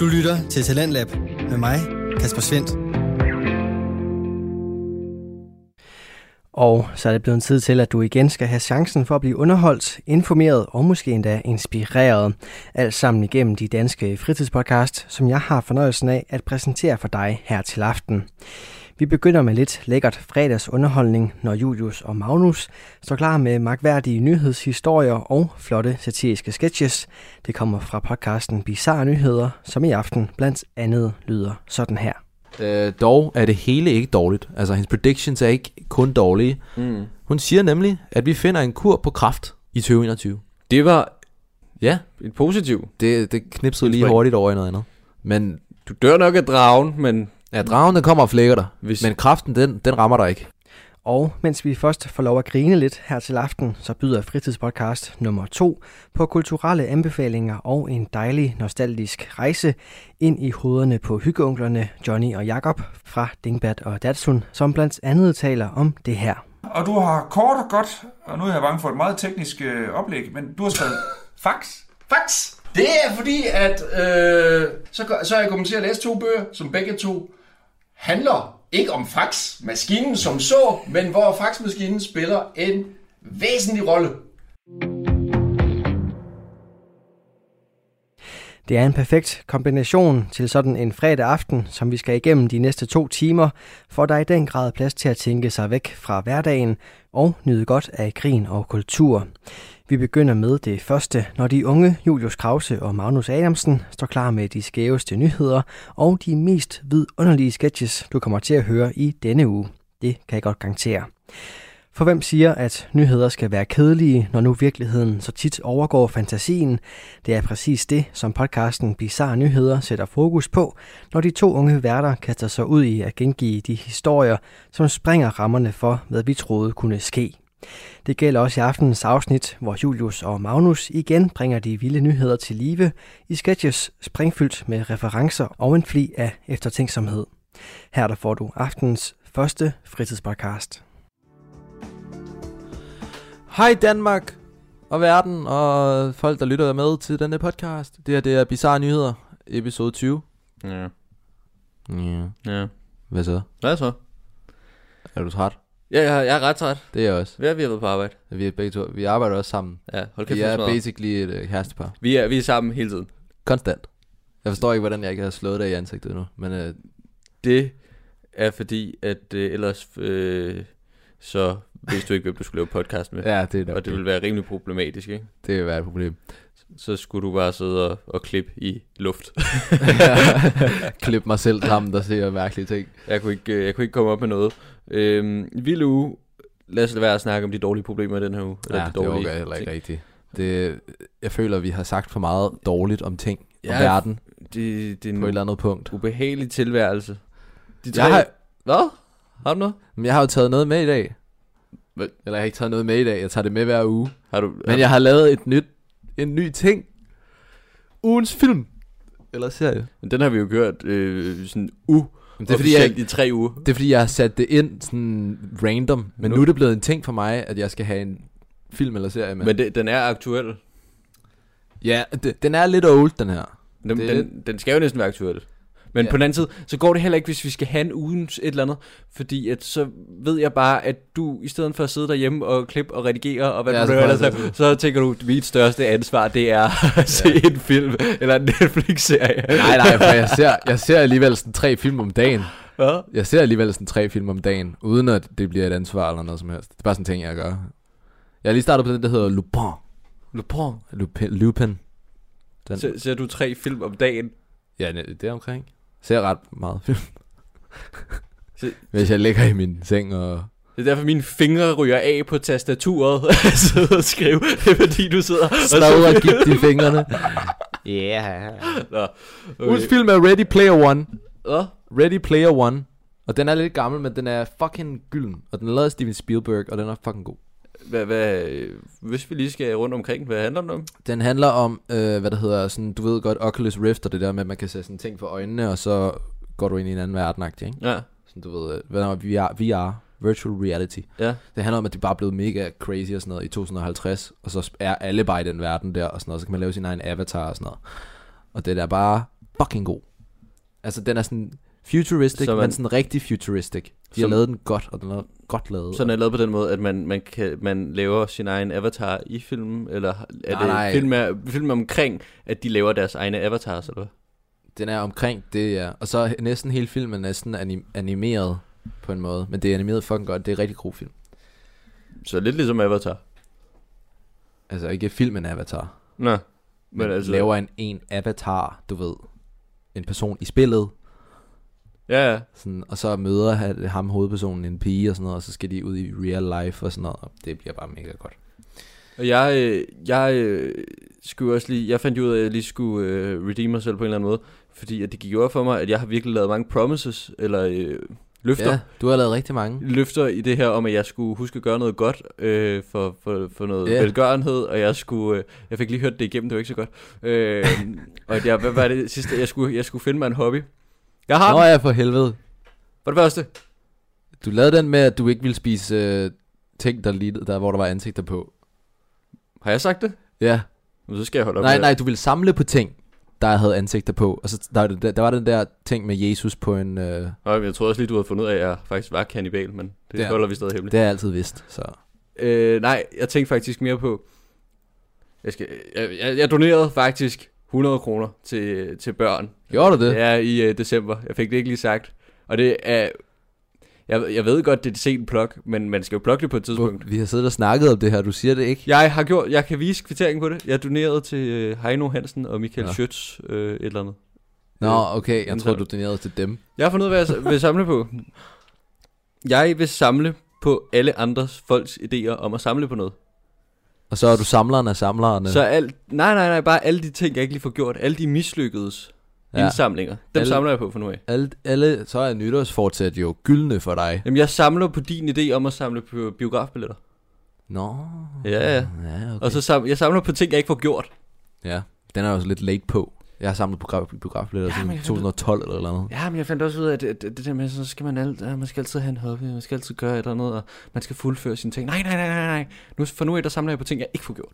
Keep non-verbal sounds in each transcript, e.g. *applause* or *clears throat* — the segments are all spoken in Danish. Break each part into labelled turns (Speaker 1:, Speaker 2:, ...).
Speaker 1: Du lytter til Talentlab med mig, Kasper Svendt.
Speaker 2: Og så er det blevet en tid til, at du igen skal have chancen for at blive underholdt, informeret og måske endda inspireret. Alt sammen igennem de danske fritidspodcast, som jeg har fornøjelsen af at præsentere for dig her til aften. Vi begynder med lidt lækkert fredagsunderholdning, når Julius og Magnus står klar med magværdige nyhedshistorier og flotte satiriske sketches. Det kommer fra podcasten Bizarre Nyheder, som i aften blandt andet lyder sådan her.
Speaker 3: Øh, dog er det hele ikke dårligt. Altså, hendes predictions er ikke kun dårlige.
Speaker 4: Mm.
Speaker 3: Hun siger nemlig, at vi finder en kur på kraft i 2021.
Speaker 4: Det var
Speaker 3: Ja,
Speaker 4: et positivt.
Speaker 3: det, det knipsede lige
Speaker 4: Inspirerende.
Speaker 3: hurtigt over i noget andet. Men
Speaker 4: Du dør nok af dragen, men
Speaker 3: ja, dragen den kommer og flækker dig.
Speaker 4: Hvis-
Speaker 3: Men kraften, den, den rammer dig ikke.
Speaker 2: Og mens vi først får lov at grine lidt her til aften, så byder fritidspodcast nummer 2 på kulturelle anbefalinger og en dejlig nostalgisk rejse ind i hovederne på hyggeonklerne Johnny og Jakob fra Dingbat og Datsun, som blandt andet taler om det her.
Speaker 5: Og du har kort og godt, og nu er jeg bange for et meget teknisk øh, oplæg, men du har
Speaker 6: *laughs*
Speaker 5: skrevet fax.
Speaker 6: Fax! Det er fordi, at øh, så, gør- så er jeg kommet til at læse to bøger, som begge to handler ikke om faxmaskinen som så, men hvor faxmaskinen spiller en væsentlig rolle.
Speaker 2: Det er en perfekt kombination til sådan en fredag aften, som vi skal igennem de næste to timer, for der er i den grad plads til at tænke sig væk fra hverdagen og nyde godt af grin og kultur. Vi begynder med det første, når de unge Julius Krause og Magnus Adamsen står klar med de skæveste nyheder og de mest vidunderlige sketches, du kommer til at høre i denne uge. Det kan jeg godt garantere. For hvem siger, at nyheder skal være kedelige, når nu virkeligheden så tit overgår fantasien? Det er præcis det, som podcasten Bizarre Nyheder sætter fokus på, når de to unge værter kaster sig ud i at gengive de historier, som springer rammerne for, hvad vi troede kunne ske. Det gælder også i aftenens afsnit, hvor Julius og Magnus igen bringer de vilde nyheder til live i sketches springfyldt med referencer og en fli af eftertænksomhed. Her der får du aftenens første fritidspodcast.
Speaker 3: Hej Danmark og verden og folk, der lytter med til denne podcast. Det her det er Bizarre Nyheder, episode 20.
Speaker 4: ja,
Speaker 3: Ja.
Speaker 4: ja.
Speaker 3: Hvad så?
Speaker 4: Hvad så?
Speaker 3: Er du træt?
Speaker 4: Ja, jeg, jeg er ret træt.
Speaker 3: Det er jeg også.
Speaker 4: Vi har, vi har været på arbejde.
Speaker 3: Vi, er begge to, vi arbejder også sammen.
Speaker 4: Ja, hold kæft,
Speaker 3: Vi
Speaker 4: vi er,
Speaker 3: er basically et øh, kærestepar.
Speaker 4: vi, er, vi er sammen hele tiden.
Speaker 3: Konstant. Jeg forstår ikke, hvordan jeg ikke har slået dig i ansigtet endnu. Men øh,
Speaker 4: Det er fordi, at øh, ellers øh, så vidste du ikke, hvem du skulle lave podcast med.
Speaker 3: ja, det er nok
Speaker 4: Og det ville være rimelig problematisk, ikke?
Speaker 3: det vil være et
Speaker 4: *laughs*
Speaker 3: problem.
Speaker 4: Så skulle du bare sidde og, og klippe i
Speaker 3: *laughs*
Speaker 4: luft.
Speaker 3: Klip mig selv sammen, der ser mærkelige ting.
Speaker 4: Jeg kunne ikke, øh, jeg kunne ikke komme op med noget. Øhm, vild uge. Lad os lade være at snakke om de dårlige problemer i den her uge.
Speaker 3: Ja, det, det
Speaker 4: dårlige
Speaker 3: overgår jeg heller ikke
Speaker 4: ting.
Speaker 3: rigtigt. Det, jeg føler, at vi har sagt for meget dårligt om ting, ja, om
Speaker 4: Ja,
Speaker 3: verden,
Speaker 4: Det, det er
Speaker 3: på et
Speaker 4: en
Speaker 3: eller andet punkt.
Speaker 4: ubehagelig tilværelse. De
Speaker 3: Jeg har,
Speaker 4: Hvad? Har du noget?
Speaker 3: men jeg har jo taget noget med i dag.
Speaker 4: Hvad?
Speaker 3: Eller jeg har ikke taget noget med i dag, jeg tager det med hver uge.
Speaker 4: Har du...
Speaker 3: Men jeg har lavet et nyt, en ny ting. Ugens film. Eller serie.
Speaker 4: Men Den har vi jo gjort øh, sådan u
Speaker 3: Det er, fordi, jeg,
Speaker 4: i tre uger.
Speaker 3: det er fordi, jeg har sat det ind sådan random. Men nu,
Speaker 4: Nu-
Speaker 3: nu er det blevet en ting for mig, at jeg skal have en film eller serie med.
Speaker 4: Men det, den er aktuel. Den,
Speaker 3: ja, det, den er lidt old, den her. Det er
Speaker 4: den, den skal jo næsten være aktuel. Men
Speaker 3: Ja.
Speaker 4: ja. på den anden side, så går det heller ikke, hvis vi skal have en ugens et eller andet. Fordi at, så ved jeg bare, at du i stedet for at sidde derhjemme og klippe og redigere, og hvad
Speaker 3: Ja,
Speaker 4: ja, du
Speaker 3: så
Speaker 4: nu
Speaker 3: får jeg
Speaker 4: ellers
Speaker 3: det
Speaker 4: så,
Speaker 3: til.
Speaker 4: så tænker du, at mit største ansvar, det er at se en film eller en Netflix-serie.
Speaker 3: Nej, nej, for jeg ser, jeg ser alligevel sådan tre film om dagen.
Speaker 4: Hvad?
Speaker 3: Jeg ser alligevel sådan tre film om dagen, uden at det bliver et ansvar eller noget som helst. Det er bare sådan en ting, jeg gør. Jeg har lige startet på den, der hedder Lupin. Lupin? Lupin. Lupin. Den,
Speaker 4: Så, ser du tre film om dagen?
Speaker 3: ja, det er omkring. Ser ret meget film.
Speaker 4: Se-
Speaker 3: Hvis jeg ligger i min seng og...
Speaker 4: Det er derfor, mine fingre ryger af på tastaturet *laughs* og sidder og skriver. Det er fordi, du sidder og
Speaker 3: Slå og gik i fingrene.
Speaker 4: Nå, okay.
Speaker 3: Ugens film er Ready Player One.
Speaker 4: Hvad?
Speaker 3: Ready Player One. Og den er lidt gammel, men den er fucking gylden. Og den er lavet af Steven Spielberg, og den er fucking god.
Speaker 4: Hvad, hvad, øh, hvis vi lige skal rundt omkring, hvad handler den om?
Speaker 3: Den handler om, øh, hvad der hedder, sådan, du ved godt, Oculus Rift og det der med, at man kan sætte sådan ting for øjnene, og så går du ind i en anden verden, ikke?
Speaker 4: Ja.
Speaker 3: Sådan, du ved, øh, hvad der VR, VR, virtual reality.
Speaker 4: Ja.
Speaker 3: Det handler om, at det bare er blevet mega crazy og sådan noget i 2050, og så er alle bare i den verden der, og sådan noget, så kan man lave sin egen avatar og sådan noget. Og det er da bare fucking god. Altså, den er sådan futuristic,
Speaker 4: Så
Speaker 3: så
Speaker 4: man-
Speaker 3: man, men sådan rigtig futuristic. De har
Speaker 4: Som-
Speaker 3: lavet den godt, og den er godt lavet.
Speaker 4: Så den er lavet på den måde, at man, man, kan, man laver sin egen avatar i filmen, eller er
Speaker 3: Nej,
Speaker 4: det
Speaker 3: nej.
Speaker 4: Film, er, film omkring, at de laver deres egne avatars, eller hvad?
Speaker 3: Den er omkring det, ja. Og så næsten hele filmen er sådan anim- animeret på en måde. Men det er animeret fucking godt. Det er en rigtig god film.
Speaker 4: Så lidt ligesom Avatar.
Speaker 3: Altså ikke filmen Avatar.
Speaker 4: Nå,
Speaker 3: Men, men altså... laver en, en avatar, du ved. En person i spillet.
Speaker 4: Ja, ja.
Speaker 3: Sådan, og så møder han- ham hovedpersonen en pige og sådan noget, og så skal de ud i real life og sådan noget. Og det bliver bare mega godt.
Speaker 4: Og jeg, øh, jeg øh, skulle også lige, jeg fandt jo ud af, at jeg lige skulle øh, redeem mig selv på en eller anden måde, fordi at det gik over for mig, at jeg har virkelig lavet mange promises, eller øh, løfter, ja.
Speaker 3: Ja, du har lavet rigtig mange.
Speaker 4: løfter i det her om, at jeg skulle huske at gøre noget godt øh, for, for, for noget
Speaker 3: Ja.
Speaker 4: yeah. velgørenhed, og jeg skulle, øh, jeg fik lige hørt det igennem, det var ikke så godt. Øh, og at jeg, hvad var det sidste, jeg skulle, jeg skulle finde mig en hobby. Jeg har
Speaker 3: Nå
Speaker 4: den,
Speaker 3: ja, for helvede.
Speaker 4: for det første.
Speaker 3: Du lavede den med, at du ikke ville spise øh, ting, der lignede, der, hvor der var ansigter på.
Speaker 4: Har jeg sagt det?
Speaker 3: Ja,
Speaker 4: Men så skal jeg holde op
Speaker 3: nej,
Speaker 4: med det.
Speaker 3: nej, du ville samle på ting, der havde ansigter på. Og så der, der, der var den der ting med Jesus på en... Øh,
Speaker 4: Nå, men jeg tror også lige, du havde fundet ud af, at jeg faktisk var kannibal, men det
Speaker 3: Ja.
Speaker 4: holder vi stadig hemmeligt.
Speaker 3: det har jeg altid vidst, så...
Speaker 4: Øh, nej, jeg tænkte faktisk mere på... Jeg, skal, jeg, jeg, jeg donerede faktisk 100 kroner til, til børn.
Speaker 3: Gjorde du det?
Speaker 4: Det er i øh, december. Jeg fik det ikke lige sagt. Og det er... Jeg, jeg ved godt, det er et sent plok, men man skal jo plukke det på et tidspunkt.
Speaker 3: Hvor- Vi har siddet og snakket om det her, du siger det ikke.
Speaker 4: Jeg har gjort... Jeg kan vise kvitteringen på det. Jeg donerede til øh, Heino Hansen og Michael ja.
Speaker 3: Nå.
Speaker 4: Schøtz øh, et eller andet.
Speaker 3: Nå, okay, jeg
Speaker 4: Jamen,
Speaker 3: tror
Speaker 4: så-
Speaker 3: du donerede til dem.
Speaker 4: Jeg har fundet ud af, hvad jeg vil samle på. Jeg vil samle på alle andres folks idéer om at samle på noget.
Speaker 3: Og så er du samleren af samlerne.
Speaker 4: Så alt, nej, nej, nej, bare alle de ting, jeg ikke lige får gjort, alle de mislykkedes ja.
Speaker 3: Ja.
Speaker 4: indsamlinger, dem alle...
Speaker 3: Alle-
Speaker 4: samler jeg på for nu af.
Speaker 3: Alle, alle, så er nytårsfortsæt jo gyldne for dig.
Speaker 4: Jamen, jeg samler på din idé om at samle på biografbilletter.
Speaker 3: Nå.
Speaker 4: Ja, ja.
Speaker 3: ja okay.
Speaker 4: Og så sam, jeg samler på ting, jeg ikke får gjort.
Speaker 3: Ja, den er også lidt late på. Jeg har samlet biograf, biografbilletter
Speaker 4: men
Speaker 3: siden
Speaker 4: jeg-
Speaker 3: 2012 eller eller andet.
Speaker 4: Ja, men jeg fandt også ud af, at det, det, det der med, så skal man, alt, ja, man skal altid have en hobby, man skal altid gøre et eller andet, og man skal fuldføre sine ting. Nej, nej, nej, nej, nej. Nu, for nu af, der samler jeg på ting, jeg ikke får gjort.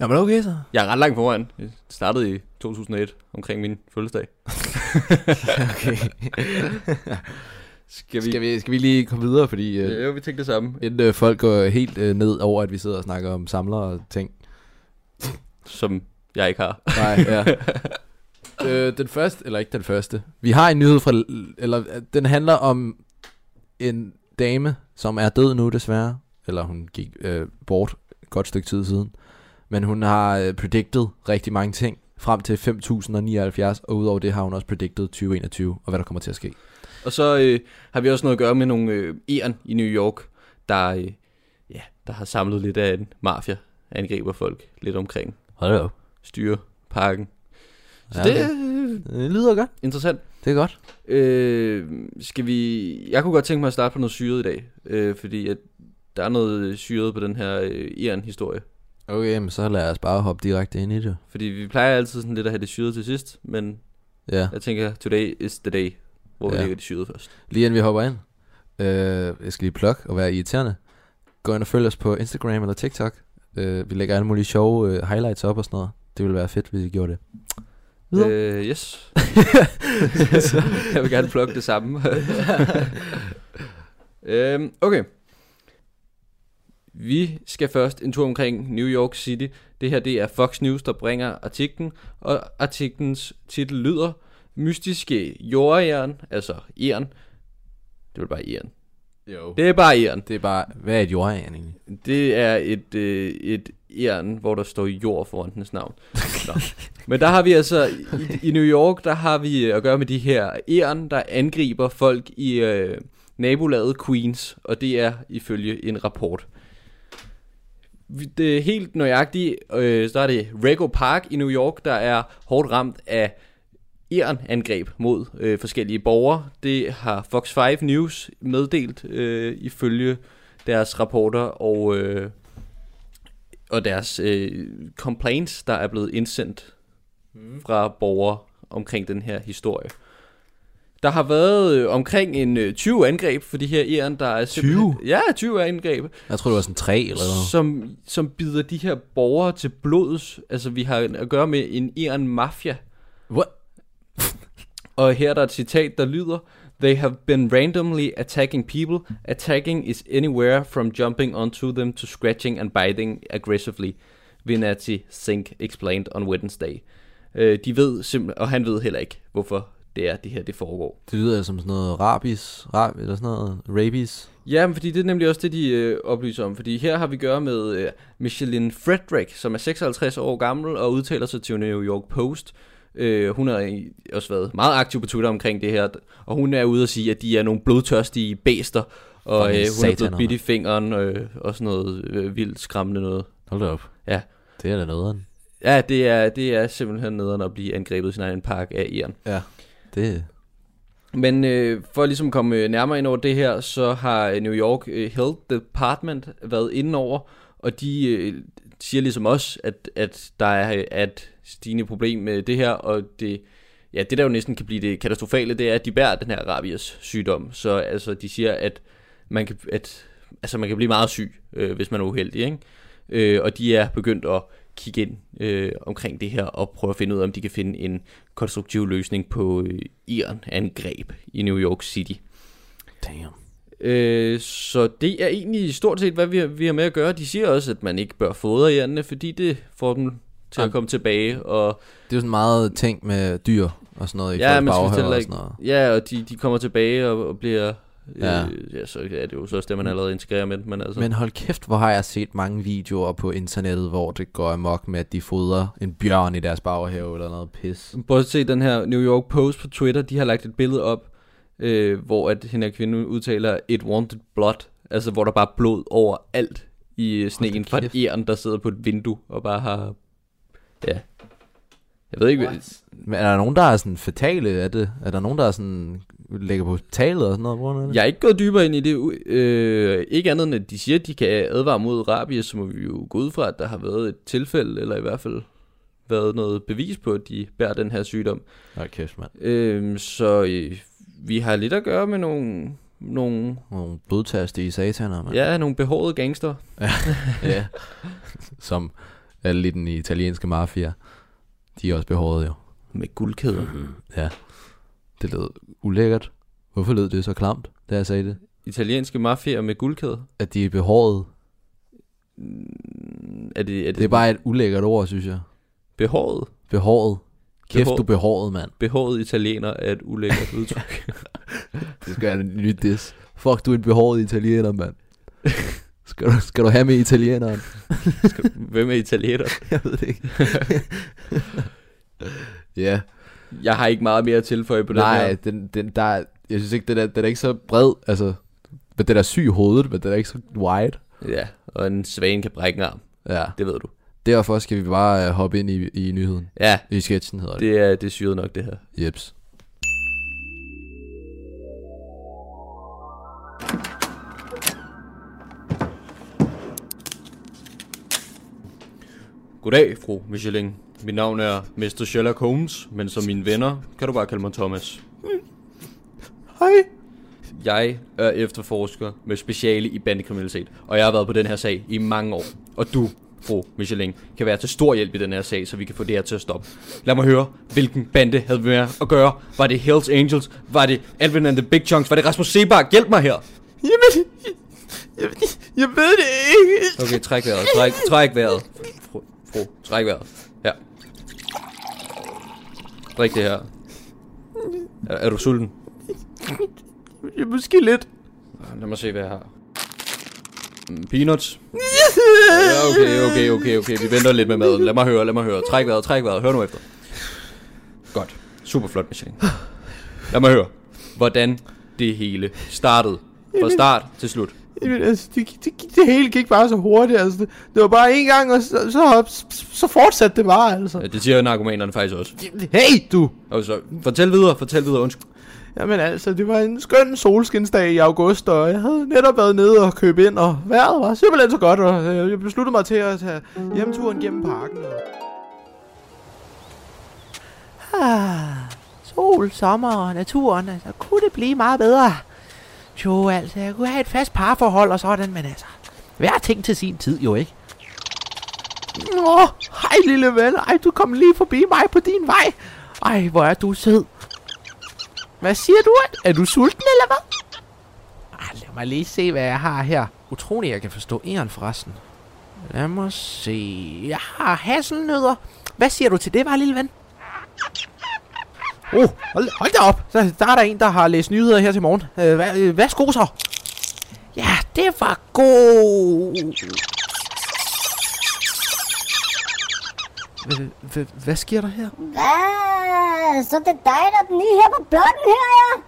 Speaker 3: Ja, men okay så.
Speaker 4: Jeg er ret langt foran. Jeg startede i 2001, omkring min fødselsdag.
Speaker 3: Okay.
Speaker 4: *laughs* Skal vi...
Speaker 3: skal, vi, skal vi lige komme videre, fordi øh,
Speaker 4: Ja, jo, vi tænkte det samme.
Speaker 3: inden øh, folk går helt øh, ned over, at vi sidder og snakker om samlere og ting.
Speaker 4: Som jeg ikke har.
Speaker 3: Nej, ja. *laughs* øh, den første, eller ikke den første. Vi har en nyhed fra, eller øh, den handler om en dame, som er død nu desværre. Eller hun gik øh, bort et godt stykke tid siden. Men hun har øh, predicted rigtig mange ting frem til 5079, og udover det har hun også predicted 2021, og hvad der kommer til at ske.
Speaker 4: Og så øh, har vi også noget at gøre med nogle øh, æren i New York, der, øh, ja, der har samlet lidt af en mafia, angriber folk lidt omkring,
Speaker 3: Hold da op.
Speaker 4: styre parken. Så
Speaker 3: Ja,
Speaker 4: ja, det
Speaker 3: okay.
Speaker 4: er øh,
Speaker 3: Det lyder godt.
Speaker 4: interessant.
Speaker 3: Det er godt.
Speaker 4: Øh, skal vi... Jeg kunne godt tænke mig at starte på noget syret i dag, øh, fordi at der er noget øh, syret på den her øh, æren-historie.
Speaker 3: Okay, men så lad os bare hoppe direkte ind i det.
Speaker 4: Fordi vi plejer altid sådan lidt at have det syret til sidst, men
Speaker 3: Ja.
Speaker 4: jeg tænker, today is the day, hvor ja. vi
Speaker 3: Ja.
Speaker 4: lægger det syret først.
Speaker 3: Lige inden vi hopper ind. Øh, jeg skal lige plukke og være irriterende. Gå ind og følg os på Instagram eller TikTok. Øh, vi lægger alle mulige sjove øh, highlights op og sådan noget. Det ville være fedt, hvis I gjorde det. Videre.
Speaker 4: Øh, yes. jeg vil gerne plukke det samme. øhm, okay. Vi skal først en tur omkring New York City. Det her det er Fox News, der bringer artiklen, og artiklens titel lyder Mystiske jordejern, altså jern. Det er vel bare jern.
Speaker 3: Jo. Det,
Speaker 4: Det er bare jern.
Speaker 3: det er bare, hvad er et jordejern egentlig?
Speaker 4: Det er et, øh, et jern, hvor der står jord foran dens navn. Nå. Men der har vi altså, i, i New York, der har vi øh, at gøre med de her jern, der angriber folk i øh, nabolaget Queens, og det er ifølge en rapport. Vi- Det er helt nøjagtigt, øh, så er det Rego Park i New York, der er hårdt ramt af angreb mod øh, forskellige borgere. Det har Fox 5 News meddelt øh, ifølge deres rapporter og, øh, og deres øh, complaints, der er blevet indsendt fra borgere omkring den her historie. Der har været øh, omkring en øh, 20 angreb for de her æren, der er simpelthen- Ja, 20 angreb
Speaker 3: Jeg tror, det var sådan tre eller noget.
Speaker 4: som, som bider de her borgere til blods. Altså, vi har at gøre med en iran mafia
Speaker 3: What?
Speaker 4: Og her er der et citat, der lyder, They have been randomly attacking people. Attacking is anywhere from jumping onto them to scratching and biting aggressively. Vinati Singh explained on Wednesday. Øh, de ved simpelthen, og han ved heller ikke, hvorfor det er, det her det foregår.
Speaker 3: Det lyder som sådan noget rabies, rab, eller sådan noget rabies.
Speaker 4: Ja, men fordi det er nemlig også det, de øh, oplyser om. Fordi her har vi gøre med øh, Micheline Frederick, som er 56 år gammel og udtaler sig til New York Post. Øh, hun har i- også været meget aktiv på Twitter omkring det her, og hun er ude og sige, at de er nogle blodtørstige bæster, og øh,
Speaker 3: Fucking
Speaker 4: hun er blevet
Speaker 3: sataner,
Speaker 4: bidt i
Speaker 3: mand.
Speaker 4: fingeren øh, og sådan noget øh, vildt skræmmende noget.
Speaker 3: Hold da op.
Speaker 4: Ja.
Speaker 3: Det er da noget.
Speaker 4: Ja, det er, det er simpelthen nederen at blive angrebet i sin egen park af Iren.
Speaker 3: Ja. Det,
Speaker 4: Men øh, for at ligesom komme øh, nærmere ind over det her, så har øh, New York øh, Health Department været inde over, og de øh, siger ligesom os, at, at der er øh, er et stigende problem med det her, og det, ja, det der jo næsten kan blive det katastrofale, det er, at de bærer den her rabies sygdom. Så altså, de siger, at man kan, at, altså, man kan blive meget syg, øh, hvis man er uheldig, ikke? Øh, og de er begyndt at kigge ind øh, omkring det her og prøve at finde ud af, om de kan finde en konstruktiv løsning på øh, Iran-angreb i New York City.
Speaker 3: damn.
Speaker 4: Øh, så det er egentlig stort set, hvad vi har, vi har med at gøre. De siger også, at man ikke bør fodre hjernene, fordi det får dem til at
Speaker 3: Jamen.
Speaker 4: komme tilbage. Og,
Speaker 3: Det er jo sådan meget ting med dyr og sådan noget. Ikke?
Speaker 4: ja,
Speaker 3: Folk
Speaker 4: man skal
Speaker 3: baghører
Speaker 4: fortælle,
Speaker 3: og
Speaker 4: ikke-
Speaker 3: sådan noget.
Speaker 4: ja, og de, de kommer tilbage og, og bliver... Ja.
Speaker 3: Ja.
Speaker 4: Øh, ja, så er det jo så også det, man allerede integrerer med. Men altså,
Speaker 3: Men hold kæft, hvor har jeg set mange videoer på internettet, hvor det går amok med, at de fodrer en bjørn i deres baghave eller noget pis.
Speaker 4: Prøv at se den her New York Post på Twitter, de har lagt et billede op, øh, hvor at hende her kvinde udtaler, it wanted blood, altså hvor der bare er blod over alt i øh, sneen fra et
Speaker 3: kæft.
Speaker 4: æren, der sidder på et vindue og bare har, ja, jeg ved ikke, hvad-
Speaker 3: Men er der nogen, der er sådan fatale af det? Er der nogen, der er sådan ligger på hospitalet og sådan noget? på grund af det?
Speaker 4: jeg er ikke gået dybere ind i det, u- øh, ikke andet end at de siger, at de kan advare mod rabies, så må vi jo gå ud fra, at der har været et tilfælde, eller i hvert fald været noget bevis på, at de bærer den her sygdom.
Speaker 3: Hold kæft, mand.
Speaker 4: Øhm, så øh, vi har lidt at gøre med nogle, nogle,
Speaker 3: Nogle blodtaste i sataner, mand.
Speaker 4: ja, nogle behårede gangster.
Speaker 3: ja. Som alle i den italienske mafia. De er også behåret jo.
Speaker 4: Med guldkæder.
Speaker 3: Ja. Det lød ulækkert. Hvorfor lød det så klamt, da jeg sagde det?
Speaker 4: Italienske mafier med guldkæder.
Speaker 3: At de er behåret.
Speaker 4: Er det, er det,
Speaker 3: Det er bare et ulækkert ord, synes jeg.
Speaker 4: behåret?
Speaker 3: Behåret. Kæft,
Speaker 4: Behår-
Speaker 3: du er behåret, mand.
Speaker 4: Behåret italiener er et ulækkert *laughs* udtryk.
Speaker 3: Det skal være en ny diss. Fuck, du er en behåret italiener, mand. Skal du, skal du have med italieneren?
Speaker 7: *laughs*
Speaker 4: Hvem er italiener?
Speaker 3: Jeg ved det ikke. *laughs* ja,
Speaker 4: Jeg har ikke meget mere at tilføje på den
Speaker 3: nej,
Speaker 4: her.
Speaker 3: den, den, der, er- jeg synes ikke, den er, den er ikke så bred, altså, men den er syg i hovedet, men den er ikke så wide.
Speaker 4: Ja, og en svane kan brække en arm.
Speaker 3: Ja,
Speaker 4: Det ved du.
Speaker 3: derfor skal vi bare øh, hoppe ind i, i nyheden.
Speaker 4: Ja,
Speaker 3: I sketchen hedder det.
Speaker 4: det er, det er syret nok det her.
Speaker 3: Jeps.
Speaker 4: Goddag, fru Michelin. Mit navn er Mr. Sherlock Holmes, men som mine venner kan du bare kalde mig Thomas.
Speaker 3: Hej.
Speaker 4: Jeg er efterforsker med speciale i bandekriminalitet, og jeg har været på den her sag i mange år. Og du, fru Michelin, kan være til stor hjælp i den her sag, så vi kan få det her til at stoppe. Lad mig høre, hvilken bande havde vi med at gøre? Var det Hells Angels? Var det Alvin and the Big Chunks? Var det Rasmus Sebak? Hjælp mig her!
Speaker 7: Jamen, jeg, jeg ved det ikke.
Speaker 4: Okay, træk vejret, træk, træk vejret. Fru, fru, træk vejret. Ja. Drik det her. Er, er du sulten?
Speaker 7: Ja, måske lidt.
Speaker 4: Ah, Lad mig se, hvad jeg har. Mm, Peanuts.
Speaker 7: *laughs*
Speaker 4: Ja, okay, okay, okay, okay. Vi venter lidt med maden. Lad mig høre, lad mig høre. Træk vejret, træk vejret. Hør nu efter. Godt. Super flot, Michelin. Lad mig høre, hvordan det hele startede. Fra start til slut.
Speaker 7: Jamen, altså, det, det, det hele gik bare så hurtigt, altså. Det, det var bare en gang, og så, så, hop- så, så fortsatte det bare, altså.
Speaker 4: Ja, Det siger narkomanerne faktisk også.
Speaker 7: Hey, du!
Speaker 4: Og så, fortæl videre, fortæl videre, undskyld.
Speaker 7: Jamen altså, det var en skøn solskinsdag i august, og jeg havde netop været nede og købe ind, og vejret var simpelthen så godt, og øh, jeg besluttede mig til at tage hjemturen gennem parken. Og... Ah, sol, sommer og naturen, altså, kunne det blive meget bedre? Jo, altså, jeg kunne have et fast parforhold og sådan, men altså, hver ting til sin tid, jo ikke? Nå, hej lille ven, ej, du kom lige forbi mig på din vej. Ej, hvor er du sød. Hvad siger du? Er- Er du sulten, eller hvad? Ej, lad mig lige se, hvad jeg har her. Utrolig, jeg kan forstå æren forresten. Lad mig se. Jeg har hasselnødder. Hvad siger du til det, var lille ven? Oh, hold, hold da op. Så, der er der en, der har læst nyheder her til morgen. Øh, hvad, øh, værsgo så. Ja, det var god. Hvad sker der her?
Speaker 8: Hvad? Så det er dig, der er den nye her på blokken her, ja?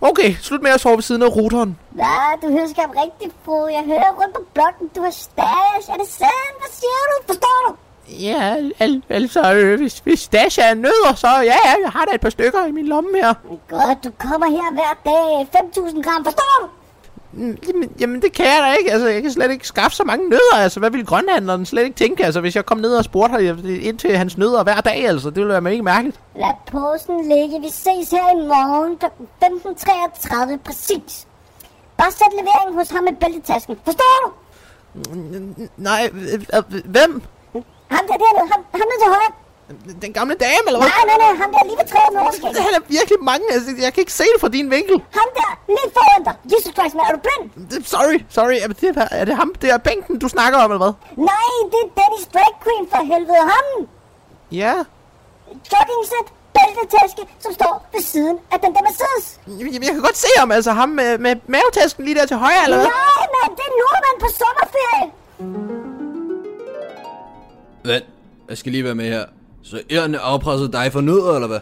Speaker 7: Okay, slut med at sove ved siden af routeren.
Speaker 8: Hvad? Du hører skam rigtig, fru. Jeg hører rundt på blokken. Du har stash. Er det sandt? Hvad siger du? Forstår du?
Speaker 7: Ja, al- altså, øh, hvis, hvis Dasha er nødder, så ja, ja, jeg har da et par stykker i min lomme her.
Speaker 8: Godt, du kommer her hver dag. 5.000 gram. Forstår du?
Speaker 7: Mm, Jamen, jamen, det kan jeg da ikke. Altså, jeg kan slet ikke skaffe så mange nødder. Altså, hvad ville grønlanderen slet ikke tænke? Altså, hvis jeg kom ned og spurgte ham øh, ind til hans nødder hver dag, altså, det ville være mega mærkeligt.
Speaker 8: Lad posen ligge. Vi ses her i morgen kl. 15.33 præcis. Bare sæt leveringen hos ham i bæltetasken. Forstår du?
Speaker 7: N- Nej, øh, øh, hvem?
Speaker 8: Ham der dernede. Ham, ham der til højre.
Speaker 7: Den gamle dame, eller hvad?
Speaker 8: Nej, nej, nej. Ham der lige ved træet med overskæg.
Speaker 7: Han er virkelig mange. Altså, jeg kan ikke se det fra din vinkel.
Speaker 8: Ham der. Lidt foran dig. Jesus Christ, man. Er du blind?
Speaker 7: Det- Sorry, sorry. Er det, er det ham? Det er bænken, du snakker om, eller hvad?
Speaker 8: Nej, det er Dennis Drag Queen for helvede. Ham.
Speaker 7: Ja.
Speaker 8: joggingsæt, bæltetaske, som står ved siden af den der Mercedes.
Speaker 7: Jamen, jeg kan godt se ham, altså ham med, med mavetasken lige der til højre, eller hvad?
Speaker 8: Nej, mand, det er nordmand på sommerferie.
Speaker 4: Hvad? Jeg skal lige være med her. Så ærerne afpressede dig for nødder, eller hvad?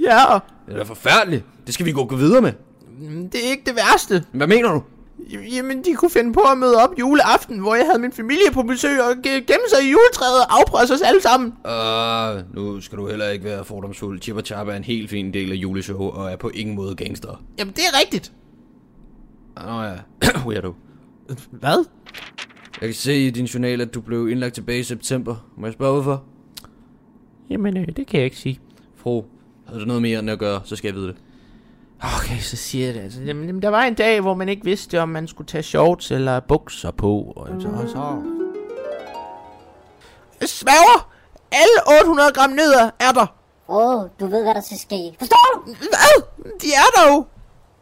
Speaker 7: Ja, og
Speaker 4: Det er da forfærdeligt. Det skal vi gå gå videre med.
Speaker 7: mm, det er ikke det værste.
Speaker 4: Hvad mener du?
Speaker 7: Jamen, de kunne finde på at møde op juleaften, hvor jeg havde min familie på besøg og ge- gemme sig i juletræet og afpresse os alle sammen.
Speaker 4: Uh, nu skal du heller ikke være fordomsfuld. Chip og Chap er en helt fin del af juleshow og er på ingen måde gangster.
Speaker 7: Jamen, det er rigtigt.
Speaker 4: Ah, Nå ja, *coughs* weirdo.
Speaker 7: Hvad?
Speaker 4: Jeg kan se i din journal, at du blev indlagt tilbage i september. Må jeg spørge hvorfor?
Speaker 7: Jamen, øh, det kan jeg ikke sige.
Speaker 4: Fru, havde du noget mere end at gøre, så skal jeg vide det.
Speaker 7: Okay, så siger jeg det altså. Jamen, jamen, der var en dag, hvor man ikke vidste, om man skulle tage shorts eller bukser på, og så... Og så... Svæver! Alle 800 gram nødder er der.
Speaker 8: Åh, oh, du ved, hvad der skal ske. Forstår du?
Speaker 7: Hvad? De er der jo.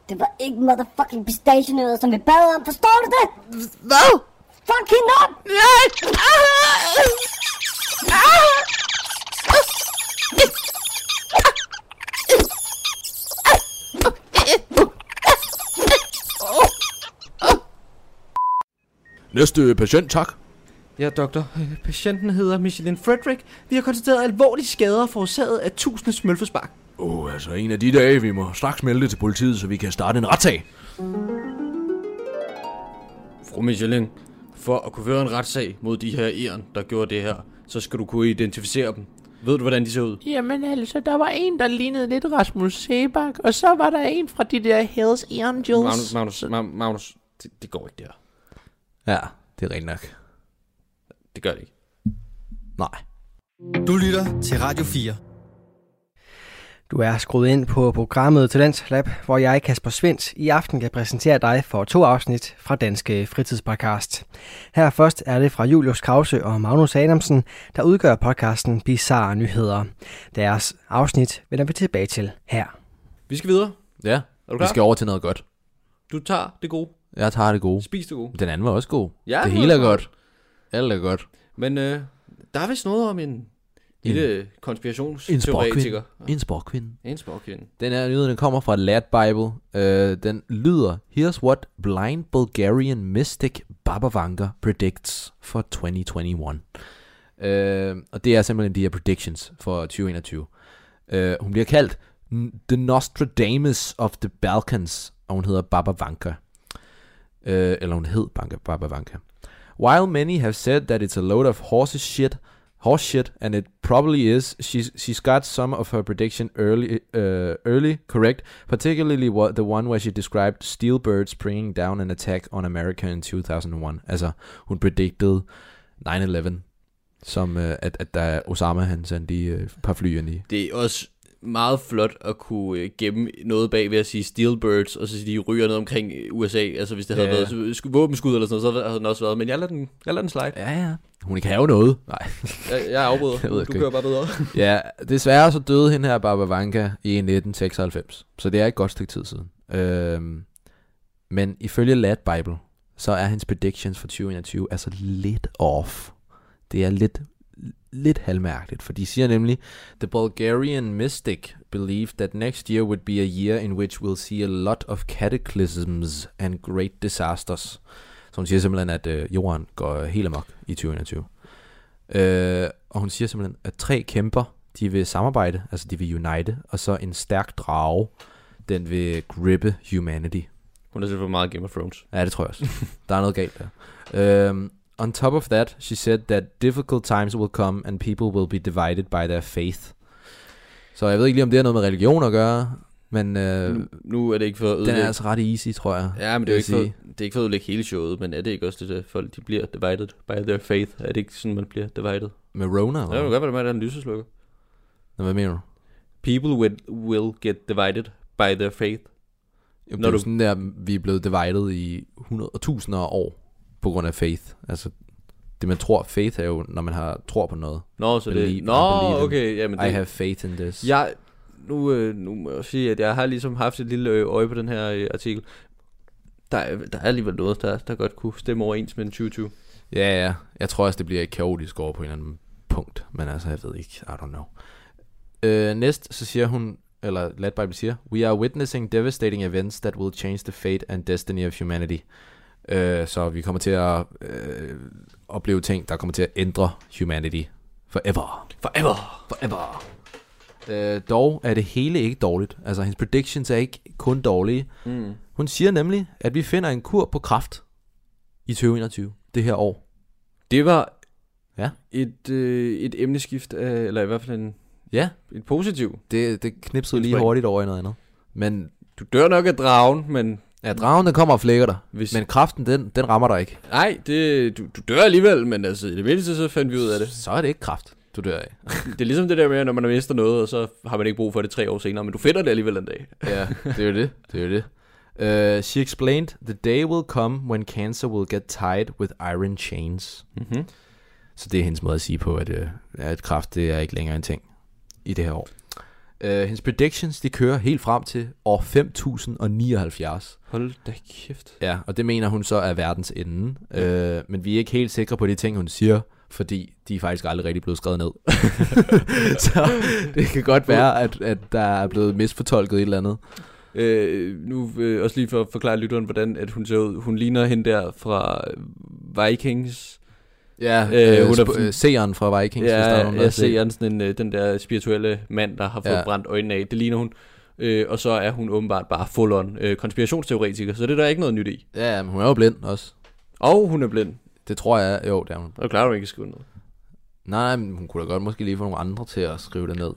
Speaker 8: Det var ikke motherfucking pistachenødder, som vi bad om. Forstår du det?
Speaker 7: Hvad?
Speaker 8: Fuck hende op!
Speaker 7: Nej! *laughs* Ah! Ah!
Speaker 3: Næste patient, tak.
Speaker 4: Ja, doktor. Øh, Patienten hedder Michelin Frederick. Vi har konstateret alvorlige skader forårsaget af tusinde smølfespark.
Speaker 3: Åh, oh, altså en af de dage, vi må straks melde det til politiet, så vi kan starte en retssag.
Speaker 4: Fru Michelin, for at kunne føre en retssag mod de her æren, der gjorde det her, så skal du kunne identificere dem. Ved du, hvordan de ser ud?
Speaker 7: Jamen altså, der var en, der lignede lidt Rasmus Sebak, og så var der en fra de der Hells Angels.
Speaker 4: Magnus, Magnus, Ma- Magnus, det, det går ikke der.
Speaker 3: Ja, det er rent nok.
Speaker 4: Det gør det ikke.
Speaker 3: Nej.
Speaker 1: Du lytter til Radio 4.
Speaker 2: Du er skruet ind på programmet Talents Lab, hvor jeg, Kasper Svens, i aften kan præsentere dig for to afsnit fra Danske Fritidspodcast. Her først er det fra Julius Krause og Magnus Adamsen, der udgør podcasten Bizarre Nyheder. Deres afsnit vender vi tilbage til her.
Speaker 4: Vi skal videre.
Speaker 3: Ja,
Speaker 4: Er du
Speaker 3: vi
Speaker 4: klar?
Speaker 3: skal over til noget godt.
Speaker 4: Du tager det gode.
Speaker 3: Jeg tager det gode.
Speaker 4: Spis det gode.
Speaker 3: Den anden var også god.
Speaker 4: Ja,
Speaker 3: det
Speaker 4: den
Speaker 3: hele
Speaker 4: var
Speaker 3: er
Speaker 4: også
Speaker 3: godt. Alt er godt.
Speaker 4: Men øh, der er vist noget om en lille konspirationsteoretiker.
Speaker 3: En sporkvinde.
Speaker 4: En sporkvinde.
Speaker 3: Den her nyhed, den kommer fra Lad Bible. Øh, den lyder, Here's what blind Bulgarian mystic Baba Vanga predicts for 2021. Øh, og det er simpelthen de her predictions for 2021. Øh, hun bliver kaldt n- The Nostradamus of the Balkans, og hun hedder Baba Vanga. Øh, eller hun hed Banka, Baba Vanga. While many have said that it's a load of horses shit, horse shit, and it probably is. She's she's got some of her prediction early uh, early correct, particularly what the one where she described steel birds bringing down an attack on America in 2001. Altså hun predicted øh, 9/11 som uh, at at der Osama han sendte de uh, par fly ind i.
Speaker 4: Det er også meget flot at kunne øh, gemme noget bag ved at sige Steelbirds, og så sige, de ryger noget omkring øh, USA. Altså hvis det havde
Speaker 3: Ja.
Speaker 4: været øh, sku- våbenskud eller sådan noget, så havde den også været. Men jeg lader den, jeg lader den slide.
Speaker 3: Ja, ja. Hun kan have noget. Nej.
Speaker 4: Jeg, *laughs* jeg afbryder.
Speaker 3: Jeg ved
Speaker 4: du
Speaker 3: ikke.
Speaker 4: kører bare videre.
Speaker 3: *laughs* ja, desværre så døde hende her, Barbara Vanka, i 1996. Så det er et godt stykke tid siden. Øhm, men ifølge Lad Bible, så er hendes predictions for 2021 altså lidt off. Det er lidt, lidt halvmærkeligt, for de siger nemlig, The Bulgarian mystic believed that next year would be a year in which we'll see a lot of cataclysms and great disasters. Så hun siger simpelthen, at øh, jorden går helt amok i 2021. Øh, og hun siger simpelthen, at tre kæmper, de vil samarbejde, altså de vil unite, og så en stærk drage, den vil grippe humanity.
Speaker 4: Hun er selvfølgelig meget Game of Thrones.
Speaker 3: Ja, det tror jeg også.
Speaker 4: *laughs*
Speaker 3: der er noget galt der. Um, on top of that, she said that difficult times will come, and people will be divided by their faith. Så jeg ved ikke lige, om det har noget med religion at gøre, men øh,
Speaker 4: Nu, nu er det ikke for at
Speaker 3: den
Speaker 4: ødelægge.
Speaker 3: er altså ret easy, tror jeg.
Speaker 4: Ja, men det er
Speaker 3: vil
Speaker 4: jo
Speaker 3: jeg
Speaker 4: ikke for,
Speaker 3: sige.
Speaker 4: det er ikke for at ødelægge hele showet, men er det ikke også det der, folk de bliver divided by their faith? Er det ikke sådan, man bliver divided?
Speaker 3: Med Rona,
Speaker 4: Ja, det
Speaker 3: eller
Speaker 4: kan
Speaker 3: hvad?
Speaker 4: godt være, det er med, at der er en lyseslukker.
Speaker 3: Nå, hvad mener du?
Speaker 4: People will, will get divided by their faith.
Speaker 3: Jo, det
Speaker 4: Når
Speaker 3: er jo
Speaker 4: du-
Speaker 3: sådan der, vi er blevet divided i 100 og tusinder af år på grund af faith. Altså, det man tror, faith er jo, når man har tror på noget.
Speaker 4: Nå, så
Speaker 3: Believe,
Speaker 4: det...
Speaker 3: I
Speaker 4: Nå,
Speaker 3: believe in.
Speaker 4: okay, jamen det...
Speaker 3: I have faith in this.
Speaker 4: Jeg, nu, øh, nu må jeg jo sige, at jeg har ligesom haft et lille øh, øje på den her øh, artikel. Der, er- der er alligevel noget, der, der godt kunne stemme overens med en 2020.
Speaker 3: Ja, ja. Jeg tror også, det bliver et kaotisk over på en eller anden punkt. Men altså, jeg ved ikke. I don't know. Øh, næst, så siger hun, eller Lad Bible siger, We are witnessing devastating events that will change the fate and destiny of humanity. Øh, så vi kommer til at øh, opleve ting, der kommer til at ændre humanity forever.
Speaker 4: Forever!
Speaker 3: Forever. Øh, dog er det hele ikke dårligt. Altså, hendes predictions er ikke kun dårlige.
Speaker 4: Mm.
Speaker 3: Hun siger nemlig, at vi finder en kur på kraft i 2021, det her år.
Speaker 4: Det var
Speaker 3: Ja.
Speaker 4: et, øh, et emneskift, øh, eller i hvert fald en,
Speaker 3: Ja,
Speaker 4: et positiv.
Speaker 3: Det, det knipsede lige
Speaker 4: Spring.
Speaker 3: hurtigt over i noget andet. Men
Speaker 4: Du dør nok af dragen, men...
Speaker 3: ja, dragen, den kommer og flækker dig.
Speaker 4: Hvis,
Speaker 3: Men kraften, den, den rammer dig ikke.
Speaker 4: Nej, det, du, du dør alligevel, men altså, i det mindste så fandt vi ud af det.
Speaker 3: Så er det ikke kraft, du dør af.
Speaker 4: Det er ligesom det der med, når man har mistet noget, og så har man ikke brug for det tre år senere, men du finder det alligevel en dag.
Speaker 3: ja, det er jo det. Det er jo det. Uh, she explained, the day will come when cancer will get tied with iron chains.
Speaker 4: Mm-hmm.
Speaker 3: Så det er hendes måde at sige på, at, øh, at kraft, det er ikke længere en ting i det her år. Uh, hendes predictions, de kører helt frem til år 5079.
Speaker 4: Hold da kæft.
Speaker 3: Ja, og det mener hun så er verdens ende. Øh, men vi er ikke helt sikre på de ting, hun siger, fordi de er faktisk aldrig rigtig blevet
Speaker 4: *laughs*
Speaker 3: skrevet ned. så det kan godt være, at, at der er blevet misfortolket et eller andet.
Speaker 4: Øh, nu øh, også lige for at forklare lytteren, hvordan at hun ser ud. Hun ligner hende der fra øh, Vikings.
Speaker 3: Ja,
Speaker 4: Øh,
Speaker 3: øh,
Speaker 4: hun
Speaker 3: hun
Speaker 4: er
Speaker 3: er
Speaker 4: sådan-
Speaker 3: seeren fra Vikings, hvis der er
Speaker 4: Ja,
Speaker 3: nogen, der har
Speaker 4: jeg
Speaker 3: set.
Speaker 4: ser sådan en, øh, den der spirituelle mand, der har fået ja.
Speaker 3: Ja.
Speaker 4: brændt øjnene af. Det ligner hun. Øh, og så er hun åbenbart bare full on øh, konspirationsteoretiker, så det er der ikke noget nyt i.
Speaker 3: Ja, men hun er jo blind også.
Speaker 4: Og hun er blind.
Speaker 3: Det tror jeg, jo, det er hun.
Speaker 4: Og klarer hun ikke at skrive noget.
Speaker 3: Nej, men hun kunne da godt måske lige få nogle andre til at skrive det ned.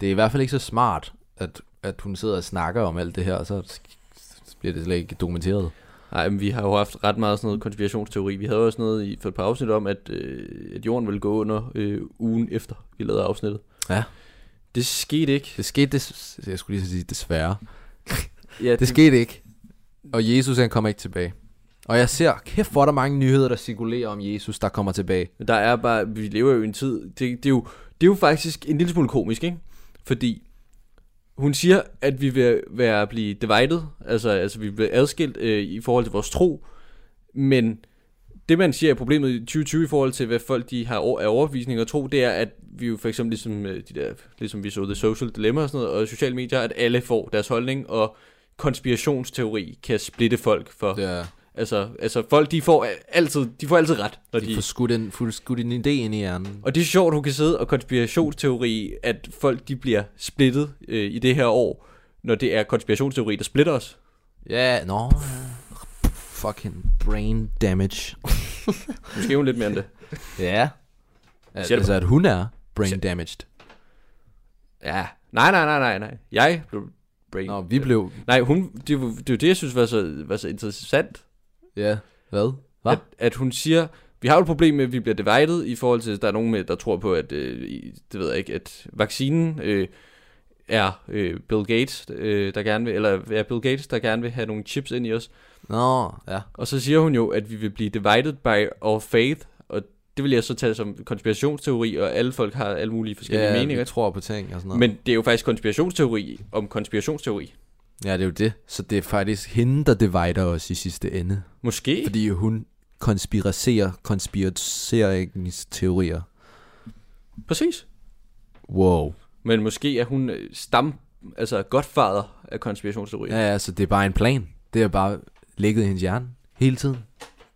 Speaker 3: Det er i hvert fald ikke så smart, at, at hun sidder og snakker om alt det her, og så sk- bliver det slet ikke dokumenteret.
Speaker 4: Nej, men vi har jo haft ret meget sådan noget konspirationsteori. Vi havde også noget i, for et par afsnit om, at, øh, at jorden ville gå under øh, ugen efter, vi lavede afsnittet.
Speaker 3: Ja.
Speaker 4: Det skete ikke.
Speaker 3: Det skete, des- jeg skulle lige så sige desværre.
Speaker 4: Ja,
Speaker 3: Det skete ikke. Og Jesus han kommer ikke tilbage. Og jeg ser, kæft hvor er der mange nyheder, der cirkulerer om Jesus, der kommer tilbage.
Speaker 4: Men Der er bare, vi lever jo i en tid, det, det, er jo, det er jo faktisk en lille smule komisk, ikke? Fordi hun siger, at vi vil være blive divided, altså, altså vi bliver adskilt øh, i forhold til vores tro, men det man siger er problemet i 2020 i forhold til, hvad folk de har over, af overbevisning og tro, det er, at vi jo for eksempel ligesom, øh, de der, ligesom vi så The Social Dilemma og sådan noget, og sociale medier, at alle får deres holdning, og konspirationsteori kan splitte folk for, ja.
Speaker 3: Ja,
Speaker 4: altså, altså folk de får altid, de får altid ret, når de,
Speaker 3: de får skudt en, får skudt en idé ind i hjernen.
Speaker 4: og det er sjovt, hun kan sidde og konspirationsteori, at folk de bliver splittet øh, i det her år, når det er konspirationsteori, der splitter os.
Speaker 3: Ja, nå. No. Fucking brain damage.
Speaker 4: Måske hun lidt mere end det.
Speaker 3: Ja.
Speaker 4: Siger du-
Speaker 3: Altså, at hun er brain damaged.
Speaker 4: *laughs* Ja. Nej, nej, nej, nej, nej. Jeg blev brain.
Speaker 3: Nå, vi blev...
Speaker 4: Nej, hun, det, er jo- det er jo det, jeg synes var så, var så interessant,
Speaker 3: Ja, hvad? Hvad?
Speaker 4: at, at hun siger, vi har jo et problem med, at vi bliver divided i forhold til, at der er nogen, med, der tror på, at, øh, i- det ved jeg ikke, at vaccinen øh, er øh, Bill Gates, øh, der gerne vil, eller er Bill Gates, der gerne vil have nogle chips ind i os.
Speaker 9: Nå, ja.
Speaker 4: Og så siger hun jo, at vi vil blive divided by our faith, og det vil jeg så tage som konspirationsteori, og alle folk har alle mulige forskellige
Speaker 9: ja,
Speaker 4: meninger.
Speaker 9: vi tror på ting og sådan noget.
Speaker 4: Men det er jo faktisk konspirationsteori om konspirationsteori.
Speaker 9: Ja, det er jo det. Så det er faktisk hende, der divider os i sidste ende.
Speaker 4: Måske.
Speaker 9: Fordi hun konspiraserer konspirationsteorier.
Speaker 4: Præcis.
Speaker 9: Wow.
Speaker 4: Men måske er hun øh, stam, altså godfader af konspirationsteorier.
Speaker 9: Ja, ja, så det er bare en plan. Det er bare ligget i hendes hjerne hele tiden.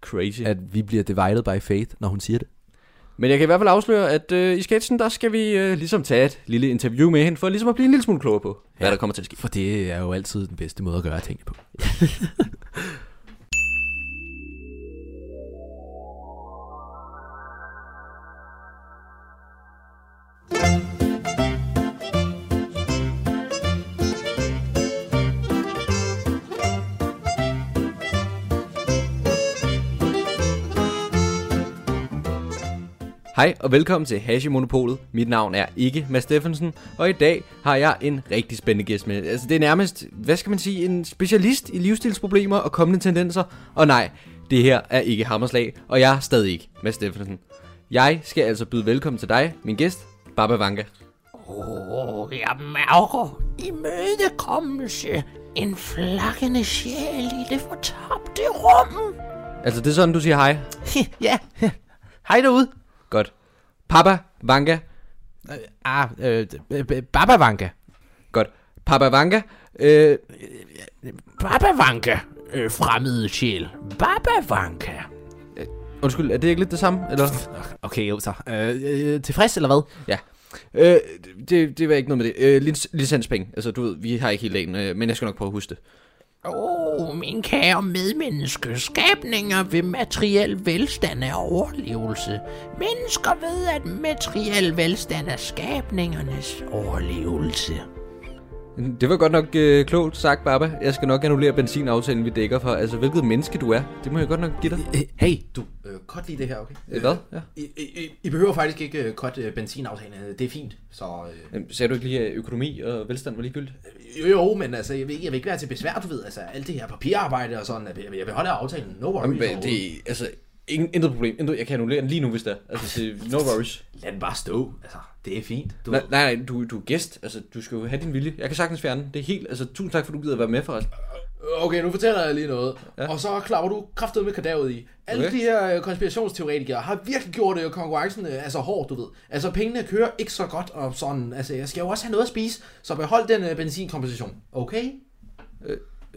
Speaker 4: Crazy.
Speaker 9: At vi bliver divided by faith, når hun siger det.
Speaker 4: Men jeg kan i hvert fald afsløre, at øh, i sketchen, der skal vi øh, ligesom tage et lille interview med hende, for ligesom at blive en lille smule klogere på, ja. hvad der kommer til at ske.
Speaker 9: For det er jo altid den bedste måde at gøre tingene på.
Speaker 4: Hej og velkommen til Hashimonopolet. Mit navn er ikke Mads Steffensen, og i dag har jeg en rigtig spændende gæst med. Altså det er nærmest, hvad skal man sige, en specialist i livsstilsproblemer og kommende tendenser. Og nej, det her er ikke Hammerslag, og jeg er stadig ikke Mads Steffensen. Jeg skal altså byde velkommen til dig, min gæst, Baba Vanka.
Speaker 10: Åh, jeg mærker imødekommelse. En flakkende sjæl i det fortabte rum.
Speaker 4: Altså det er sådan, du siger hej.
Speaker 10: ja, hej derude.
Speaker 4: Godt. Papa Vanka,
Speaker 10: Ah, øh, øh, øh, Babavanka.
Speaker 4: Godt. Papa Vanka, øh,
Speaker 10: Babavanka. Øh, fremmede sjæl. Babavanka.
Speaker 4: Øh, undskyld, er det ikke lidt det samme? Eller?
Speaker 10: Okay, jo så. Øh, øh, tilfreds eller hvad?
Speaker 4: Ja. Øh, det, det var ikke noget med det. Øh, lic- licenspenge. Altså, du ved, vi har ikke helt en, øh, men jeg skal nok prøve at huske det.
Speaker 10: Åh, oh, min kære medmenneske, skabninger ved materiel velstand er overlevelse. Mennesker ved, at materiel velstand er skabningernes overlevelse.
Speaker 4: Det var godt nok øh, klogt sagt, Baba. Jeg skal nok annullere benzinaftalen, vi dækker for. Altså, hvilket menneske du er, det må jeg godt nok give dig.
Speaker 3: Hey, du øh, godt lide det her, okay?
Speaker 4: Øh, Hvad? Ja.
Speaker 3: I, I, I behøver faktisk ikke øh, godt øh, benzinaftalen, det er fint. Så øh,
Speaker 4: Jamen, Sagde du ikke lige, at økonomi og velstand var ligegyldigt?
Speaker 3: jo, jo, men altså, jeg vil, ikke- jeg vil ikke være til besvær, du ved. Altså, alt det her papirarbejde og sådan, jeg, jeg vil holde af aftalen. No worries.
Speaker 4: Jamen, hvad-
Speaker 3: overhovedet.
Speaker 4: det altså, ingen, intet problem. Intet, jeg kan annullere den lige nu, hvis det er. Altså, det, *laughs* no worries.
Speaker 3: Lad den bare stå, altså, det er fint. Du,
Speaker 4: Nej, nej, nej, du, du er gæst. Altså, du skal jo have din vilje. Jeg kan sagtens fjerne den. Det er helt... Altså, tusind tak, for du gider at være med, forresten.
Speaker 3: Okay, nu fortæller jeg lige noget. Ja. Og så klapper du kraftedet med kadavet i. Alle
Speaker 4: Okay.
Speaker 3: okay. de her øh, konspirationsteoretikere har virkelig gjort øh, konkurrencen øh, altså hård, du ved. Altså pengene kører ikke så godt og sådan. Altså jeg skal jo også have noget at spise, så behold den øh, benzinkompensation. Okay?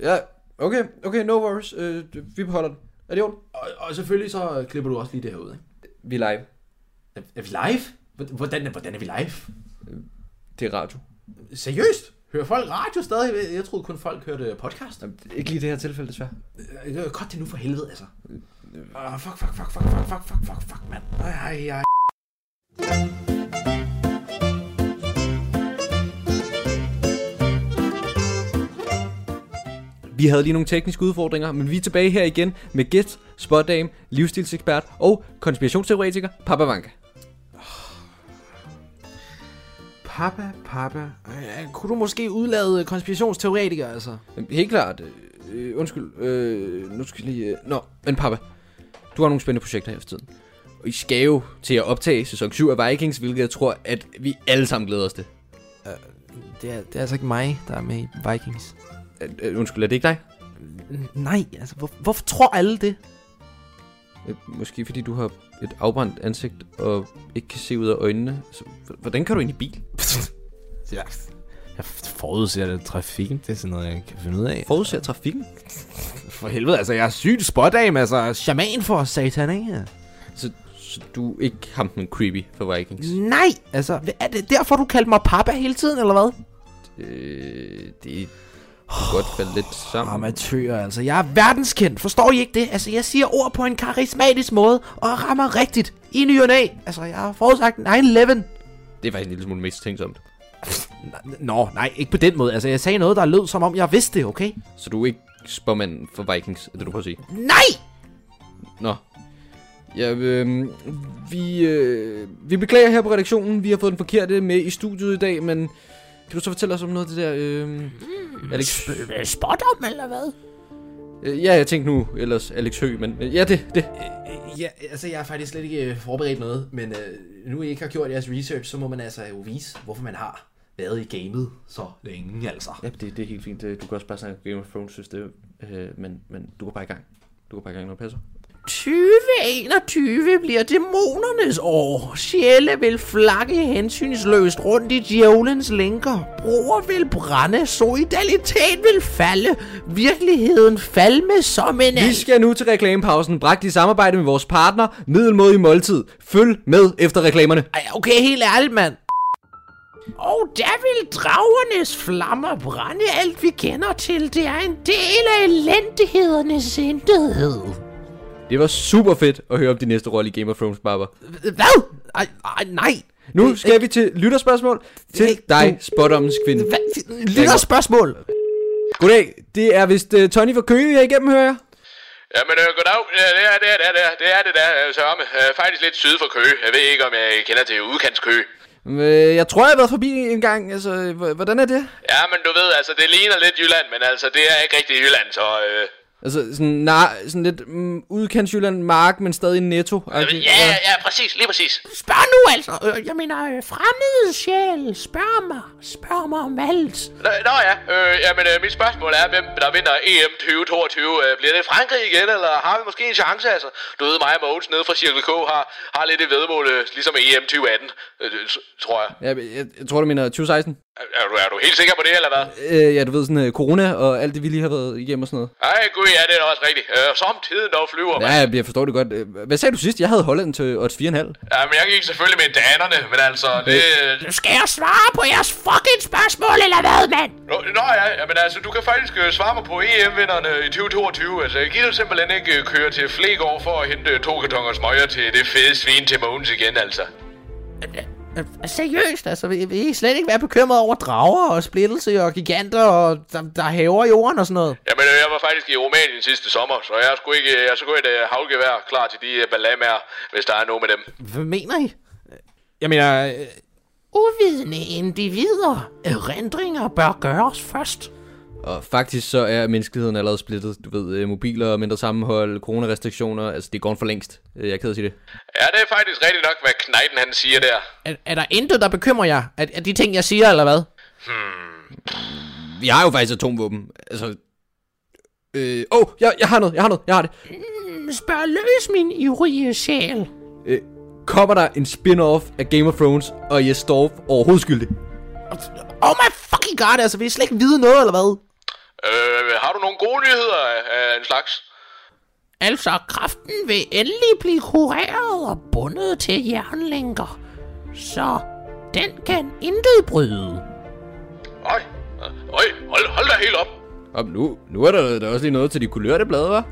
Speaker 4: Ja, okay, okay, no worries. Øh, vi beholder den. Er det ondt?
Speaker 3: Og, og selvfølgelig så øh, klipper du også lige det her ud. Ikke?
Speaker 4: Vi er live.
Speaker 3: Er, er vi live? Hvor- Hvordan, hvordan er vi live?
Speaker 4: Det er radio.
Speaker 3: Seriøst? Hører folk radio stadig? Jeg troede kun folk hørte podcast.
Speaker 4: Jamen, det er ikke lige i det her tilfælde, desværre.
Speaker 3: Øh, øh, Godt det nu for helvede, altså. Ah, fuck, fuck, fuck, fuck, fuck, fuck, fuck, fuck, fuck, mand. Ej, ej, ej.
Speaker 4: Vi havde lige nogle tekniske udfordringer, men vi er tilbage her igen med gæst, spådame, livsstilsekspert og konspirationsteoretiker Papa Vanka.
Speaker 10: Papa, papa. Øh, kunne du måske udlade konspirationsteoretikere, altså?
Speaker 4: Jamen, Helt klart. Øh, undskyld. Øh, nu skal jeg lige... Øh, nå, men Papa. Du har nogle spændende projekter her for tiden. Og I skal jo til at optage sæson 7 af Vikings, hvilket jeg tror, at vi alle sammen glæder os til.
Speaker 10: Det er, det er altså ikke mig, der er med i Vikings.
Speaker 4: Øh, øh, undskyld, er det ikke dig?
Speaker 10: Nej, altså, hvor, hvorfor tror alle det?
Speaker 4: Øh, Måske fordi du har et afbrændt ansigt og ikke kan se ud af øjnene. Så, h- hvordan kan du ind i bil?
Speaker 10: Jeg, jeg forudser det trafikken. Det er sådan noget, jeg kan finde ud af.
Speaker 4: Forudser trafikken?
Speaker 10: For helvede, altså, jeg er sygt spådame, altså. Shaman for satan, ikke?
Speaker 4: Så, så du er ikke ham den creepy for Vikings?
Speaker 10: Nej, altså, hva- er det derfor, du kaldte mig papa hele tiden, eller hvad?
Speaker 4: Øh, det kan godt falde lidt sammen.
Speaker 10: Amatører, altså, jeg er verdenskendt, forstår I ikke det? Altså, jeg siger ord på en karismatisk måde, og rammer rigtigt i ny og næ. Altså, jeg har forudsagt 9-11.
Speaker 4: Det er faktisk en lille smule mistænksomt.
Speaker 10: Nå, nej, ikke på den måde. Altså, jeg sagde noget, der lød, som om jeg vidste det, okay?
Speaker 4: Så du er ikke spormanden for Vikings, er det du prøver at sige?
Speaker 10: Nej!
Speaker 4: Nå. Ja, øh, vi, øh, vi beklager her på redaktionen. Vi har fået den forkerte med i studiet i dag, men Kan du så fortælle os om noget af det der... Øh,
Speaker 3: Hmm.
Speaker 4: Alex...
Speaker 3: Spådom øh, eller hvad?
Speaker 4: Øh, ja, jeg tænkte nu ellers Alex Høgh, men øh, ja, det, det.
Speaker 10: Øh, Ja, altså jeg har faktisk slet ikke øh, forberedt noget, men øh, nu I ikke har gjort jeres research, så må man altså jo vise, hvorfor man har været i gamet så længe altså.
Speaker 4: Ja, det, det er helt fint. Det- Du kan også bare snakke Game of Thrones, hvis det øh, men, men du går bare i gang. Du går bare i gang, når det passer.
Speaker 3: 2021 bliver dæmonernes år. Sjæle vil flakke hensynsløst rundt i djævelens lænker. Broer vil brænde, solidaritet vil falde, virkeligheden falme som en
Speaker 4: Vi skal nu til reklamepausen, bragt i samarbejde med vores partner, Middelmodig Måltid. Følg med efter reklamerne.
Speaker 3: Ej, okay, helt ærligt, mand. Og der vil dragernes flammer brænde alt, vi kender til. Det er en del af elendighedernes intethed.
Speaker 4: Det var super fedt at høre om din næste rolle i Game of Thrones, Barber.
Speaker 3: Hvad? Ej, ej nej.
Speaker 4: Nu skal vi til lytterspørgsmål til dig, spådommens kvinde.
Speaker 3: Hvad? Lytter spørgsmål.
Speaker 4: Goddag, det er vist uh, Tony fra Køge, jeg igennem hører. jeg.
Speaker 6: Jamen, øh, goddag. Ja, det er det, er, det er, det er, det er det der, øh, Sørme. Øh, faktisk lidt syd for Køge. Jeg ved ikke, om jeg kender til udkantskøge.
Speaker 4: Øh, Jeg tror, jeg har været forbi en gang. Altså, h- hvordan er det?
Speaker 6: Ja, men du ved, altså, det ligner lidt Jylland, men altså, det er ikke rigtig Jylland, så... Øh...
Speaker 4: Altså, sådan, nej, sådan lidt mm, udkantsjylland mark, men stadig netto. Okay.
Speaker 6: Ja, ja, ja, præcis, lige præcis.
Speaker 3: Spørg nu altså. Øh, Jeg mener, øh, fremmede sjæl. Spørg mig. Spørg mig om alt.
Speaker 6: Nå, nå ja, øh, jamen, øh, mit spørgsmål er, hvem der vinder E EM 2022? Øh, bliver det Frankrig igen, eller har vi måske en chance, altså? Du ved, mig og Mogens nede fra Cirkel K har, har lidt et vedmål, øh, ligesom EM 2018, øh, øh, t- tror jeg.
Speaker 4: Ja, jeg, jeg tror, du mener 2016.
Speaker 6: Er- Er du, er du helt sikker på det, eller hvad?
Speaker 4: Øh, ja, du ved sådan øh, corona og alt det, vi lige har været igennem og sådan noget.
Speaker 6: Ej, gud, ja, det er da også rigtigt. Øh, som tiden dog flyver,
Speaker 4: Ja, jeg- jeg forstår det godt. Øh, Hvad sagde du sidst? Jeg havde Holland til odds 4,5.
Speaker 6: Ja, men jeg gik selvfølgelig med danerne, men altså, det...
Speaker 3: Skal jeg svare på jeres fucking spørgsmål, eller hvad, mand?
Speaker 6: Nå, nå ja, men altså, du kan faktisk øh, svare mig på EM-vinderne i 2022. Altså, jeg gider simpelthen ikke øh, køre til Flegård for at hente øh, to kartonger smøger til det fede svin til Mogens igen, altså.
Speaker 3: Øh, Seriøst, altså, vil, vil I slet ikke være bekymret over drager og splittelse og giganter, og der, der hæver jorden og sådan noget?
Speaker 6: Jamen, øh, jeg var faktisk i Rumænien sidste sommer, så jeg har sgu ikke, jeg har sgu et øh, havlgevær klar til de øh, balamager, hvis der er noget med dem.
Speaker 3: Hvad mener I?
Speaker 11: Jeg mener, øh,
Speaker 3: Uvidende individer. Erindringer bør gøres først.
Speaker 4: Og faktisk så er menneskeheden allerede splittet. Du ved, øh, mobiler, mindre sammenhold, coronarestriktioner. Altså, det går for længst. Øh, Jeg er ked af at sige det.
Speaker 6: Ja, det er faktisk rigtigt nok, hvad Knejten han siger der.
Speaker 3: Er, er der intet, der bekymrer jer? Er, er de ting, jeg siger, eller hvad?
Speaker 4: Vi har jo faktisk atomvåben. Altså... Øh, åh, oh, jeg, jeg har noget, jeg har noget, jeg har det.
Speaker 3: Spørg løs min ivrige sjæl.
Speaker 4: Kommer der en spin-off af Game of Thrones og Jes Dorf overhovedet skyldig?
Speaker 3: Oh my fucking god, altså, vil I slet ikke vide noget, eller hvad?
Speaker 6: Øh, har du nogle gode nyheder af- af en slags?
Speaker 3: Altså, kraften vil endelig blive kureret og bundet til jernlænker. Så den kan intet bryde.
Speaker 6: Øj, øh, øj, hold, hold da helt op.
Speaker 4: Og nu, nu er der, der også lige noget til de kulørte blade, hva'?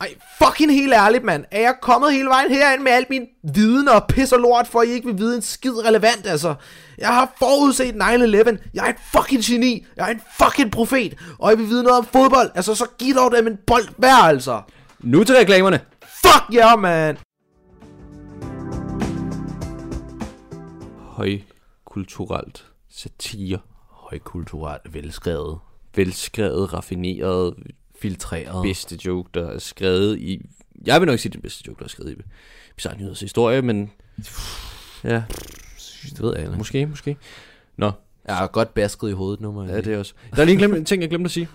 Speaker 3: Ej, fucking helt ærligt, mand. Er jeg kommet hele vejen herind med al min viden og pis og lort, for at I ikke vil vide en skid relevant, altså? Jeg har forudset 9-11. Jeg er en fucking geni. Jeg er en fucking profet. Og I vil vide noget om fodbold. Altså, så giv dog dem en bold hver, altså.
Speaker 4: Nu til reklamerne.
Speaker 3: Fuck yeah, man.
Speaker 4: Højkulturelt. Satire.
Speaker 10: Højkulturelt velskrevet.
Speaker 4: Velskrevet, raffineret,
Speaker 10: Filtreret.
Speaker 4: bedste joke, der er skrevet i... Jeg vil nok sige, det er den bedste joke, der er skrevet i Bizarre Nyheders historie, men... Ja,
Speaker 10: Det ved jeg ikke.
Speaker 4: måske, måske. Nå,
Speaker 10: Jeg er godt basket i hovedet nu, må jeg
Speaker 4: ja,
Speaker 10: sige.
Speaker 4: det er også. Der er lige en, glem, en ting, jeg glemte at sige.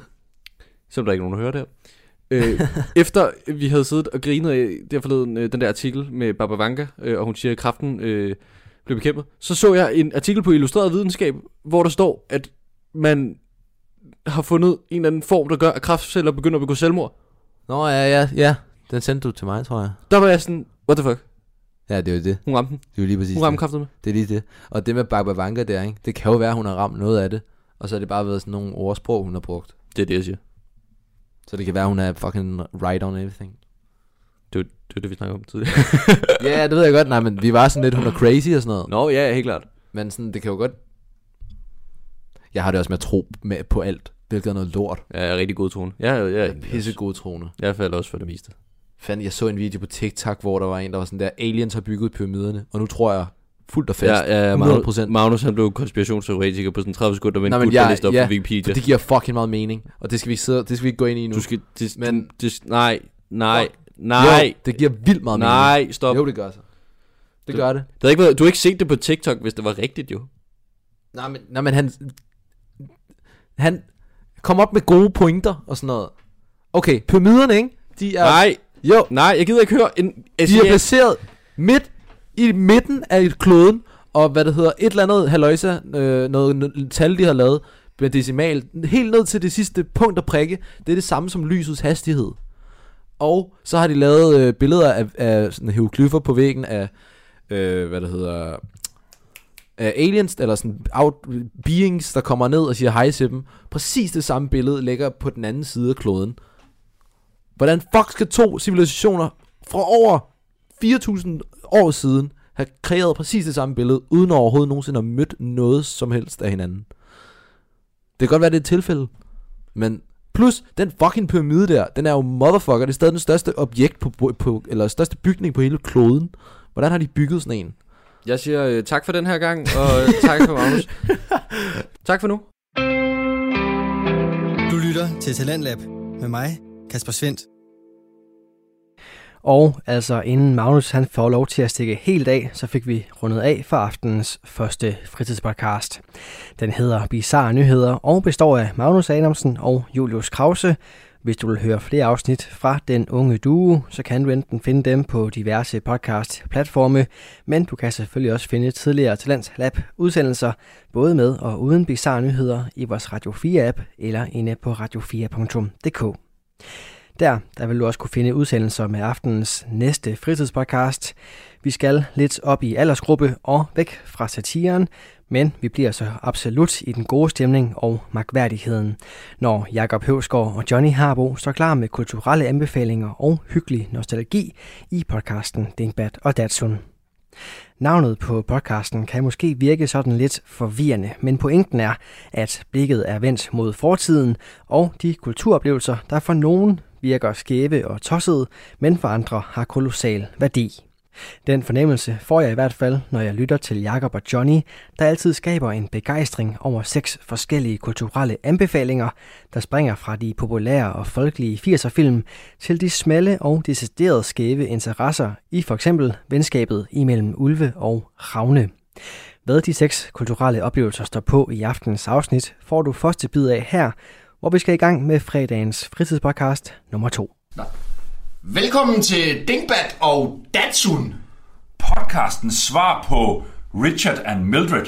Speaker 4: Som der ikke er nogen, der hører det her. *laughs* øh, efter vi havde siddet og grinet af der forleden, øh, den der artikel med Baba Vanga, øh, og hun siger, at kraften øh, blev bekæmpet, så så jeg en artikel på Illustreret Videnskab, hvor der står, at man har fundet en eller anden form, der gør, at kraftceller begynder at begå selvmord.
Speaker 10: Nå, ja, ja, ja. Den sendte du til mig, tror jeg.
Speaker 4: Der var jeg sådan, what the fuck?
Speaker 10: Ja, det er jo det.
Speaker 4: Hun ramte den.
Speaker 10: Det er jo lige præcis
Speaker 4: Hun ramte
Speaker 10: det.
Speaker 4: kraften med.
Speaker 10: det. er lige det. Og det med Barbara Vanka der, ikke? Det kan jo være, hun har ramt noget af det. Og så har det bare været sådan nogle ordsprog, hun har brugt.
Speaker 4: Det er det, jeg siger.
Speaker 10: Så det kan være, hun er fucking right on everything.
Speaker 4: Det var det, var det vi snakkede om tidligere.
Speaker 10: Ja, yeah, det ved jeg godt. Nej, men vi var sådan lidt, hun er crazy og sådan noget.
Speaker 4: *laughs* Nå, ja, helt klart.
Speaker 10: Men sådan, det kan jo godt... Jeg har det også med at tro med på alt, hvilket er noget lort.
Speaker 4: Ja, jeg er rigtig god tone. Ja, ja, ja.
Speaker 10: Pisse gode troende.
Speaker 4: Jeg falder også for det meste.
Speaker 10: Fandt, jeg så en video på TikTok, hvor der var en, der var sådan der, aliens har bygget pyramiderne, og nu tror jeg fuldt og fast.
Speaker 4: Ja, ja, ja
Speaker 10: 100
Speaker 4: Magnus, Magnus han blev konspirationsteoretiker på sådan 30 sekunder, men,
Speaker 10: Nej,
Speaker 4: Nej,
Speaker 10: men
Speaker 4: men
Speaker 10: jeg,
Speaker 4: liste op
Speaker 10: ja,
Speaker 4: ja, på Wikipedia.
Speaker 10: for det giver fucking meget mening, og det skal vi ikke, sidde, det skal vi ikke gå ind i nu.
Speaker 4: Du skal, det,
Speaker 10: men,
Speaker 4: det, nej, nej,
Speaker 10: Fuck.
Speaker 4: nej.
Speaker 10: Jo, det giver vildt meget mening.
Speaker 4: Nej, stop.
Speaker 10: Jo, det gør så. Det gør det.
Speaker 4: det har ikke været, du har ikke set det på TikTok, hvis det var rigtigt jo.
Speaker 10: Nej, men, nej, men han... Han kom op med gode pointer og sådan noget. Okay, pyramiderne, ikke? De er...
Speaker 4: Nej.
Speaker 10: Jo.
Speaker 4: Nej, jeg gider ikke høre en...
Speaker 10: De er placeret midt i midten af kloden, og hvad det hedder, et eller andet haløjsa, øh, noget, noget tal, de har lavet med decimal, helt ned til det sidste punkt og prikke, det er det samme som lysets hastighed. Og så har de lavet øh, billeder af, af sådan hieroglyffer på væggen af, øh, hvad det hedder, af aliens, eller sådan out, beings, der kommer ned og siger hej til dem. Præcis det samme billede ligger på den anden side af kloden. Hvordan fuck skal to civilisationer fra over 4.000 år siden have kreeret præcis det samme billede, uden overhovedet nogensinde at mødt noget som helst af hinanden? Det kan godt være, det er et tilfælde, men plus den fucking pyramide der, den er jo motherfucker, det er stadig den største objekt på, på eller største bygning på hele kloden. Hvordan har de bygget sådan en?
Speaker 4: Jeg siger øh, tak for den her gang, og øh, tak for
Speaker 10: *laughs*
Speaker 4: Magnus. tak for nu.
Speaker 12: Du lytter til Talentlab med mig, Kasper Svendt.
Speaker 2: Og altså inden Magnus han får lov til at stikke helt af, så fik vi rundet af for aftenens første fritidspodcast. Den hedder Bizarre Nyheder og består af Magnus Adamsen og Julius Krause. Hvis du vil høre flere afsnit fra Den Unge Duo, så kan du enten finde dem på diverse podcast-platforme, men du kan selvfølgelig også finde tidligere Talents Lab udsendelser, både med og uden bizarre nyheder i vores Radio 4-app eller inde på radio4.dk. Der, der vil du også kunne finde udsendelser med aftenens næste fritidspodcast. Vi skal lidt op i aldersgruppe og væk fra satiren, men vi bliver så absolut i den gode stemning og magværdigheden, når Jakob Høvsgaard og Johnny Harbo står klar med kulturelle anbefalinger og hyggelig nostalgi i podcasten Dingbat og Datsun. Navnet på podcasten kan måske virke sådan lidt forvirrende, men pointen er, at blikket er vendt mod fortiden og de kulturoplevelser, der for nogen virker skæve og tossede, men for andre har kolossal værdi. Den fornemmelse får jeg i hvert fald, når jeg lytter til Jakob og Johnny, der altid skaber en begejstring over seks forskellige kulturelle anbefalinger, der springer fra de populære og folkelige 80'er film til de smalle og deciderede skæve interesser i for eksempel venskabet imellem ulve og ravne. Hvad de seks kulturelle oplevelser står på i aftenens afsnit, får du første bid af her, hvor vi skal i gang med fredagens fritidspodcast nummer 2.
Speaker 13: Velkommen til Dingbat og Datsun.
Speaker 5: Podcastens svar på Richard and Mildred.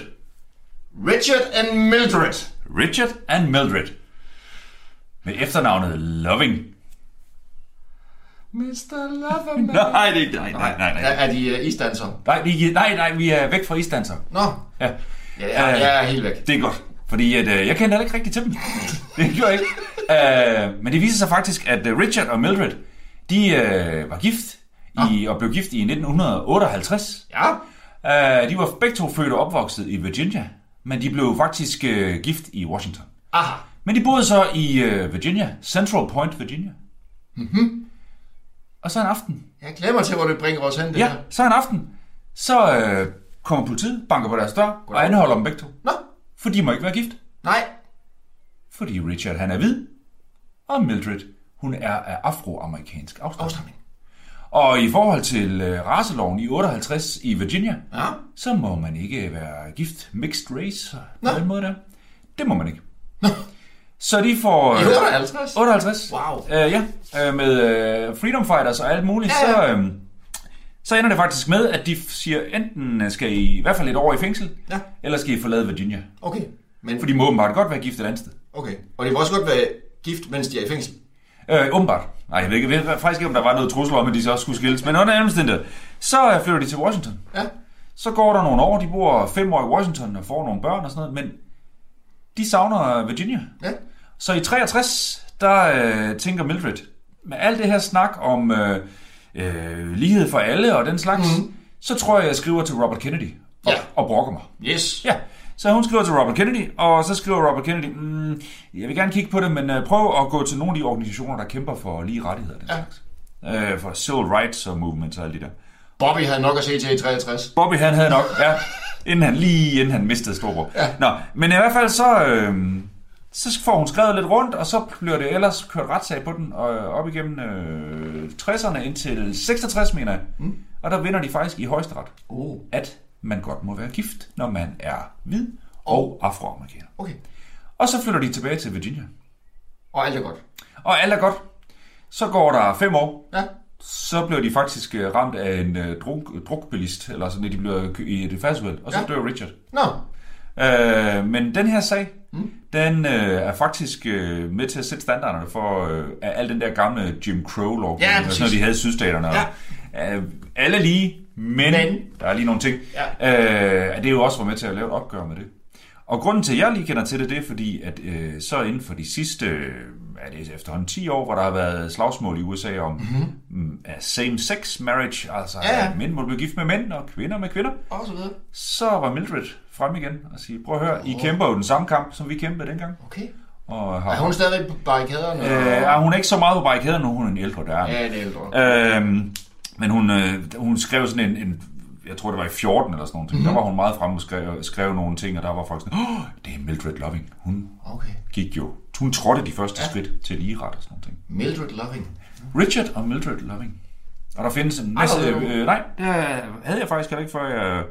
Speaker 13: Richard and Mildred.
Speaker 5: Richard and Mildred. Med efternavnet Loving. *laughs*
Speaker 13: Mr. Loverman.
Speaker 5: Nej, det er ikke, nej, nej, nej,
Speaker 13: Er,
Speaker 5: nej.
Speaker 13: er de uh, isdanser?
Speaker 5: Nej, vi, nej, nej, vi er væk fra isdanser.
Speaker 13: Nå,
Speaker 5: Ja.
Speaker 13: ja, jeg, jeg er helt væk.
Speaker 5: Det er godt, fordi at, øh, jeg kender heller ikke rigtig til dem. *laughs* det gjorde jeg ikke. Øh, men det viser sig faktisk, at øh, Richard og Mildred, de øh, var gift i, og blev gift i 1958.
Speaker 13: Ah. Ja,
Speaker 5: Øh, de var begge to født og opvokset i Virginia, men de blev faktisk øh, gift i Washington.
Speaker 13: aha.
Speaker 5: Men de boede så i øh, Virginia, Central Point, Virginia. Mm-hmm. Og så en aften,
Speaker 13: Jeg glemmer til, hvor det bringer os hen, det
Speaker 5: ja,
Speaker 13: her.
Speaker 5: så en aften, så øh, kommer politiet, banker på deres dør og anholder dem begge to.
Speaker 13: Nå,
Speaker 5: For de må ikke være gift,
Speaker 13: nej.
Speaker 5: fordi Richard han er hvid, og Mildred hun er af afroamerikansk afstamning.
Speaker 13: Afstamning.
Speaker 5: Og i forhold til øh, raceloven i 58 i Virginia,
Speaker 13: Ja,
Speaker 5: så må man ikke være gift mixed race på
Speaker 13: Nå.
Speaker 5: den måde der. Det må man ikke. Så de får...
Speaker 13: I
Speaker 5: øh,
Speaker 13: 58?
Speaker 5: 58.
Speaker 13: Wow.
Speaker 5: Øh, ja, øh, med øh, Freedom Fighters og alt muligt,
Speaker 13: Ja, ja.
Speaker 5: så... Øh, så ender det faktisk med, at de siger, enten øh, skal I i hvert fald et år i fængsel,
Speaker 13: Ja.
Speaker 5: eller skal I forlade Virginia.
Speaker 13: okay. Men,
Speaker 5: For de må åbenbart godt være gift et andet sted.
Speaker 13: okay. Og de må også godt være gift, mens de er i fængsel.
Speaker 5: Øh, åbenbart. Nej, jeg ved ikke, jeg ved faktisk ikke, om der var noget trusler om, at de så også skulle skilles. Men under alle omstændigheder, så øh, flytter de til Washington.
Speaker 13: Ja,
Speaker 5: Så går der nogle år, de bor fem år i Washington og får nogle børn og sådan noget, men de savner øh, Virginia.
Speaker 13: ja.
Speaker 5: Så i 63, der øh, tænker Mildred, med alt det her snak om øh, øh, lighed for alle og den slags, mm. så tror jeg, jeg skriver til Robert Kennedy og,
Speaker 13: Mhm. Ja.
Speaker 5: og brokker mig.
Speaker 13: Yes.
Speaker 5: Ja, så hun skriver til Robert Kennedy, og så skriver Robert Kennedy, mm, jeg vil gerne kigge på det, men øh, prøv at gå til nogle af de organisationer, der kæmper for lige rettigheder og den
Speaker 13: Ja.
Speaker 5: slags. Øh, for civil rights og movements og alt det der.
Speaker 6: Bobby havde nok at se til i 63.
Speaker 5: Bobby han havde nok, ja. Inden han, lige inden han mistede storebror. Ja. Nå, men i hvert fald så, øh, så får hun skrevet lidt rundt, og så bliver det ellers kørt retssag på den, og op igennem øh, 60'erne indtil 66, mener jeg. Mm. Og der vinder de faktisk i højesteret,
Speaker 6: Oh.
Speaker 5: at man godt må være gift, når man er hvid og afroamerikaner.
Speaker 6: Oh. Okay.
Speaker 5: Og så flytter de tilbage til Virginia.
Speaker 6: Og alt er godt.
Speaker 5: Og alt er godt. Så går der fem år,
Speaker 6: Ja.
Speaker 5: så bliver de faktisk øh, ramt af en øh, druk, drukbilist, eller sådan, at de bliver kø- i et færdsuheld, og så
Speaker 6: Ja.
Speaker 5: ja. dør Richard.
Speaker 6: Nå,
Speaker 5: Øh, men den her sag, mm. den øh, er faktisk øh, med til at sætte standarderne for øh, af al den der gamle Jim Crow-lovgivning,
Speaker 6: Ja,
Speaker 5: og sådan
Speaker 6: præcis.
Speaker 5: noget, de havde i sydstaterne. og, Øh, alle lige, men,
Speaker 6: Men.
Speaker 5: men der er lige nogle ting. Ja. Øh, at det jo også var med til at lave et opgør med det. Og grunden til, at jeg lige kender til det, det er fordi, at øh, så inden for de sidste, øh, er det efterhånden 10 år, hvor der har været slagsmål i USA om mm-hmm. same-sex marriage, altså
Speaker 6: Mhm. Ja,
Speaker 5: ja.
Speaker 6: ja.
Speaker 5: at mænd må blive gift med mænd, og kvinder med kvinder
Speaker 6: og så videre.
Speaker 5: så var Mildred frem igen og sige, prøv at høre, I kæmper jo den samme kamp, som vi kæmpede dengang.
Speaker 6: Okay.
Speaker 5: Og
Speaker 6: Er
Speaker 5: har,
Speaker 6: hun stadigvæk på barrikaderne?
Speaker 5: øh, er hun ikke så meget på barrikaden, nu hun er en ældre der.
Speaker 6: Ja, det er ældre.
Speaker 5: Øhm, men hun, øh, hun skrev sådan en, en, jeg tror det var i 14 eller sådan noget.
Speaker 6: Mhm.
Speaker 5: Mm-hmm. Der var hun meget fremme og skrev, skrev nogle ting, og der var folk sådan, oh, det er Mildred Loving. Hun
Speaker 6: Okay.
Speaker 5: gik jo, hun trådte de første ja. skridt til ligeret og sådan noget.
Speaker 6: Mildred Loving.
Speaker 5: Richard og Mildred Loving. Og der findes en masse...
Speaker 6: Ej, hvor er det
Speaker 5: Øh, nej, det havde jeg faktisk heller ikke, før jeg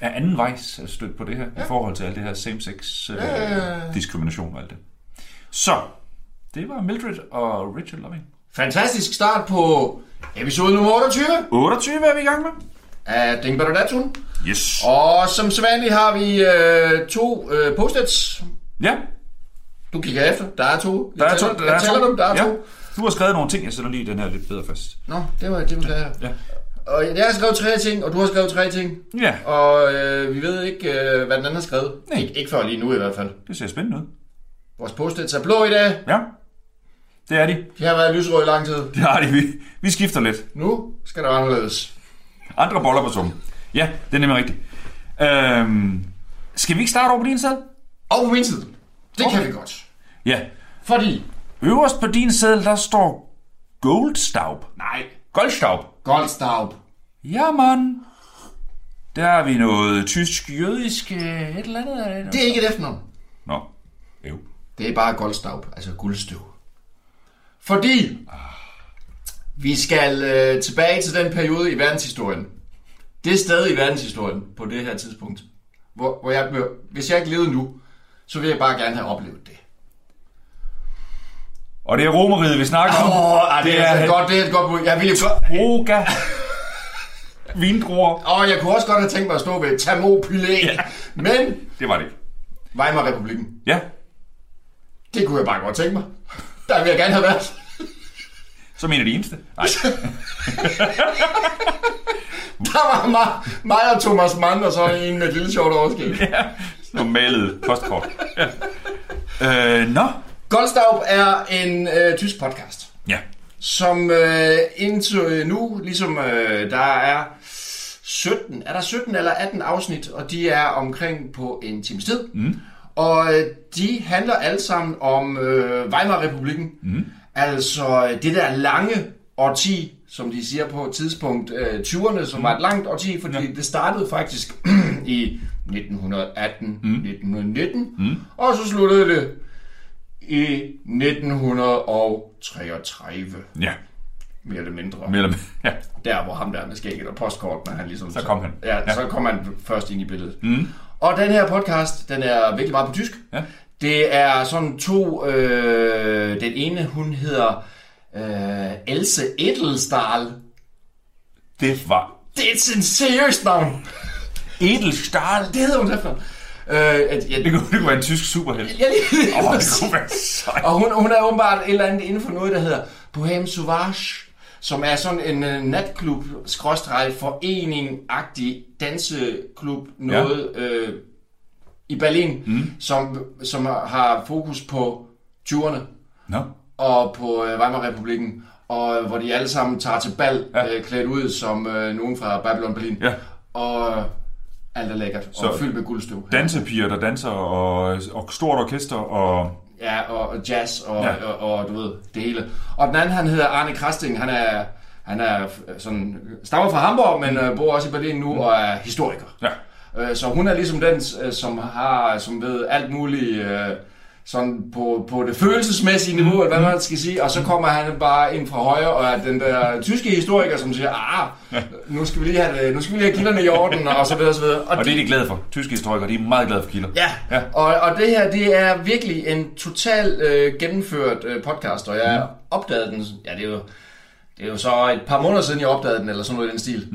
Speaker 5: af anden vejs er stødt på det her, ja. i forhold til alt det her same-sex øh,
Speaker 6: ja, ja.
Speaker 5: diskrimination og alt det. Så, det var Mildred og Richard Loving.
Speaker 6: Fantastisk start på episode nummer 28
Speaker 5: 28 er vi i gang med.
Speaker 6: af Ding Badodatun.
Speaker 5: Yes. Og...
Speaker 6: Og som sædvanligt har vi øh, to øh, post-its.
Speaker 5: Ja,
Speaker 6: Du kigger efter. Der er to.
Speaker 5: der
Speaker 6: jeg
Speaker 5: er to.
Speaker 6: tæller, Jeg tæller dem. Der er
Speaker 5: ja.
Speaker 6: to.
Speaker 5: Du har skrevet nogle ting, jeg sætter lige den her lidt bedre fast.
Speaker 6: Nå, det var det, var det her.
Speaker 5: Ja.
Speaker 6: Og jeg har skrevet tre ting, og du har skrevet tre ting.
Speaker 5: Ja,
Speaker 6: Og øh, vi ved ikke, øh, hvad den anden har skrevet.
Speaker 5: Nej.
Speaker 6: Ik- ikke før lige nu i hvert fald.
Speaker 5: det ser spændende ud.
Speaker 6: Vores post-its er blå i dag.
Speaker 5: Ja, det er de.
Speaker 6: De har været lyserøde i lang tid.
Speaker 5: Det har de. Vi, vi skifter lidt.
Speaker 6: Nu skal der være anderledes.
Speaker 5: Andre boller på summen. Ja, det er nemlig rigtigt. Øhm, skal vi ikke starte over på din sædel?
Speaker 6: Og på min side. Det okay. kan vi godt.
Speaker 5: Ja.
Speaker 6: Fordi...
Speaker 5: Øverst på din sædel, der står Goldstaub. Nej. Goldstaub.
Speaker 6: Goldstaub.
Speaker 5: Ja, man. Der er vi noget tysk, jødisk, øh, et eller andet. øh,
Speaker 6: Det er ikke et efternavn.
Speaker 5: Nå. Jo.
Speaker 6: Det er bare Goldstaub, altså guldstøv. Fordi vi skal øh, tilbage til den periode i verdenshistorien. Det er stadig i verdenshistorien på det her tidspunkt. Hvor, hvor jeg, blev- hvis jeg ikke levede nu, så vil jeg bare gerne have oplevet det.
Speaker 5: Og det er romeriet, vi snakker om.
Speaker 6: Åh, oh, det, det, er, altså et godt, det er et godt bud. Jeg ville godt...
Speaker 5: Roga. Vindruer.
Speaker 6: Og jeg kunne også godt have tænkt mig at stå ved et Thermopylæ. Ja.
Speaker 5: Ja.
Speaker 6: Men
Speaker 5: Det var det ikke.
Speaker 6: Weimar-republiken,
Speaker 5: Ja.
Speaker 6: det kunne jeg bare godt tænke mig. Der vil jeg gerne have været.
Speaker 5: Som en af de eneste. Nej.
Speaker 6: Der var mig, mig og Thomas Mann, og så en med et lille sjovt overskæg.
Speaker 5: Normale postkort. Ja. Øh, nå.
Speaker 6: Goldstaub er en øh, tysk podcast,
Speaker 5: Ja.
Speaker 6: som øh, indtil nu, ligesom øh, der er 17, er der 17 eller 18 afsnit, og de er omkring på en times tid. Mm. Og øh, de handler alle sammen om øh, Weimar-republiken, mm. altså øh, det der lange årti, som de siger på et tidspunkt, øh, 20'erne, som mm. var et langt årti, fordi ja. det startede faktisk *clears throat* i 1918, mm. 1919, mm. og så sluttede det i 1933,
Speaker 5: Ja.
Speaker 6: mere eller mindre.
Speaker 5: Mellem. Ja.
Speaker 6: Der, hvor ham der med skægget og postkortene, han ligesom...
Speaker 5: Så kom han.
Speaker 6: Ja, ja,
Speaker 5: Ja.
Speaker 6: så kom han først ind i billedet. Mm. Og den her podcast, den er virkelig meget på tysk.
Speaker 5: Ja.
Speaker 6: Det er sådan to... Øh, den ene, hun hedder øh, Else Edelstahl.
Speaker 5: Det var
Speaker 6: Det er et sin- seriøst navn.
Speaker 5: Edelstahl.
Speaker 6: Det hedder hun efter. Øh, at, jeg,
Speaker 5: Det kunne, det kunne være en tysk superhelt.
Speaker 6: jeg, lige,
Speaker 5: Åh, det kunne være sejt.
Speaker 6: Og hun, hun er åbenbart et eller andet inden for noget, der hedder Bohem Sauvage, som er sådan en øh, natklub, skråstreg, forening-agtig danseklub, noget øh, i Berlin, mm. som, som har fokus på 20'erne
Speaker 5: Nå.
Speaker 6: og på øh, Weimar-republiken, og øh, hvor de alle sammen tager til bal, ja. øh, klædt ud som øh, nogen fra Babylon Berlin.
Speaker 5: Ja.
Speaker 6: Og øh, alt er lækkert, Så, og
Speaker 5: Så-
Speaker 6: fyldt med guldstøv.
Speaker 5: Dansepiger, der danser, og, og stort orkester, og...
Speaker 6: Ja, og, og jazz og, ja.
Speaker 5: Ja.
Speaker 6: og, og, og du ved, det hele. Og den anden, han hedder Arne Krasting, han er, Han er øh, sådan, stammer fra Hamburg, men øh, bor også i Berlin nu og er historiker.
Speaker 5: Ja.
Speaker 6: Øh, så hun er ligesom den, øh, som har, som ved alt muligt øh, sådan på, på det følelsesmæssige niveau, eller hvad man skal sige, og så kommer han bare ind fra højre, og er den der tyske historiker, som siger, ah, nu skal vi lige have, det- nu skal vi lige have kilderne i orden, og så videre, og så videre.
Speaker 5: Og det er de glade for. Tyske historikere, de er meget glade for kilder.
Speaker 6: Ja,
Speaker 5: Ja.
Speaker 6: ja. Og, og det her, det er virkelig en total øh, gennemført øh, podcast, og jeg mm. opdagede den, ja det er jo, det er jo så et par måneder siden, jeg opdagede den, eller sådan noget i den stil.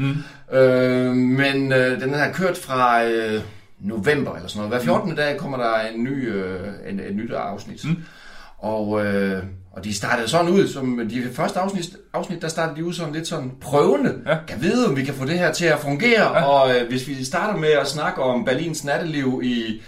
Speaker 6: Mm. Øh, men øh, den har kørt fra øh, november eller sådan noget. Hver 14. Mm. dag kommer der en ny, øh, en, et nyt afsnit. Mm. Og, øh, og de startede sådan ud, som de første afsnit, afsnit der startede de ud sådan lidt sådan prøvende.
Speaker 5: Ja.
Speaker 6: Ja. Kan vide, om vi kan få det her til at fungere. Ja. Og øh, hvis vi starter med at snakke om Berlins natteliv i,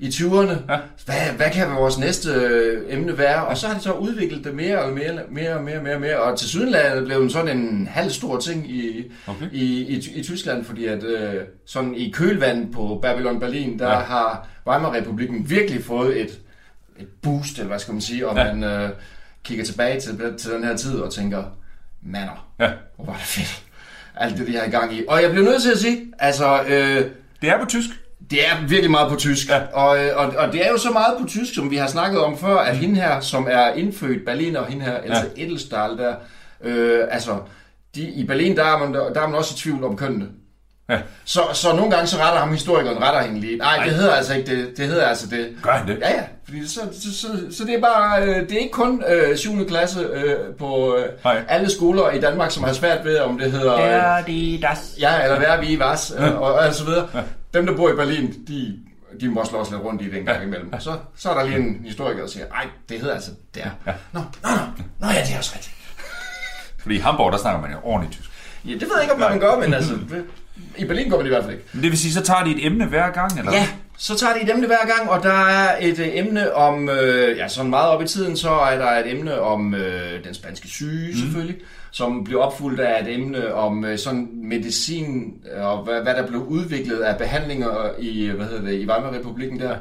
Speaker 6: i 20'erne, ja. hvad, hvad kan vores næste øh, emne være? Og så har de så udviklet det mere og mere, mere og mere og mere, og mere. Og til sydenlandet blev den sådan en halv stor ting i,
Speaker 5: Okay.
Speaker 6: okay. i, i, i Tyskland, fordi at øh, sådan i kølvandet på Babylon Berlin, der
Speaker 5: Ja.
Speaker 6: ja. har Weimar-republiken virkelig fået et et boost, eller hvad skal man sige, og
Speaker 5: Ja.
Speaker 6: ja. man øh, kigger tilbage til, til den her tid og tænker, mander,
Speaker 5: Ja.
Speaker 6: hvor var det fedt, alt det, de har i gang i. Og jeg bliver nødt til at sige, altså, øh,
Speaker 5: Det er på tysk.
Speaker 6: det er virkelig meget på tysk,
Speaker 5: Ja.
Speaker 6: og, øh, og, og det er jo så meget på tysk, som vi har snakket om før, at hende her, som er indfødt berliner, hende her, Elsa ja. Edelstahl, der, øh, altså, de, i Berlin, der er, man, der er man også i tvivl om kønnene.
Speaker 5: Ja.
Speaker 6: Så, så nogle gange så retter ham historikeren, retter hende lige. Nej, det hedder altså ikke det. Det hedder altså det.
Speaker 5: Gør han det?
Speaker 6: Ja, ja. Fordi så, så, så, så det er bare, øh, det er ikke kun øh, 7. klasse øh, på øh,
Speaker 5: Nej.
Speaker 6: alle skoler i Danmark, som har svært ved, om det hedder... Øh, ja, eller hvad er vi i vas, øh, og, og så videre. Dem, der bor i Berlin, de, de må slås lidt rundt i den gang imellem. Og så, så er der lige en historiker, der siger, ej, det hedder altså der. Nå, nå, nå, nå, ja, det er også rigtigt.
Speaker 5: Fordi i Hamburg, der snakker man jo ordentligt tysk.
Speaker 6: Ja, det ved jeg ikke, om man gør, men altså, det- i Berlin gør man det i hvert fald ikke.
Speaker 5: Men det vil sige, så tager de et emne hver gang, eller?
Speaker 6: Ja, så tager de et emne hver gang, og der er et øh, emne om, øh, ja sådan meget op i tiden, så er der et emne om øh, den spanske syge
Speaker 5: Mhm.
Speaker 6: selvfølgelig, som bliver opfulgt af et emne om øh, sådan medicin, øh, og hvad, hvad der blev udviklet af behandlinger i, øh, hvad hedder det, i Weimar-republiken der,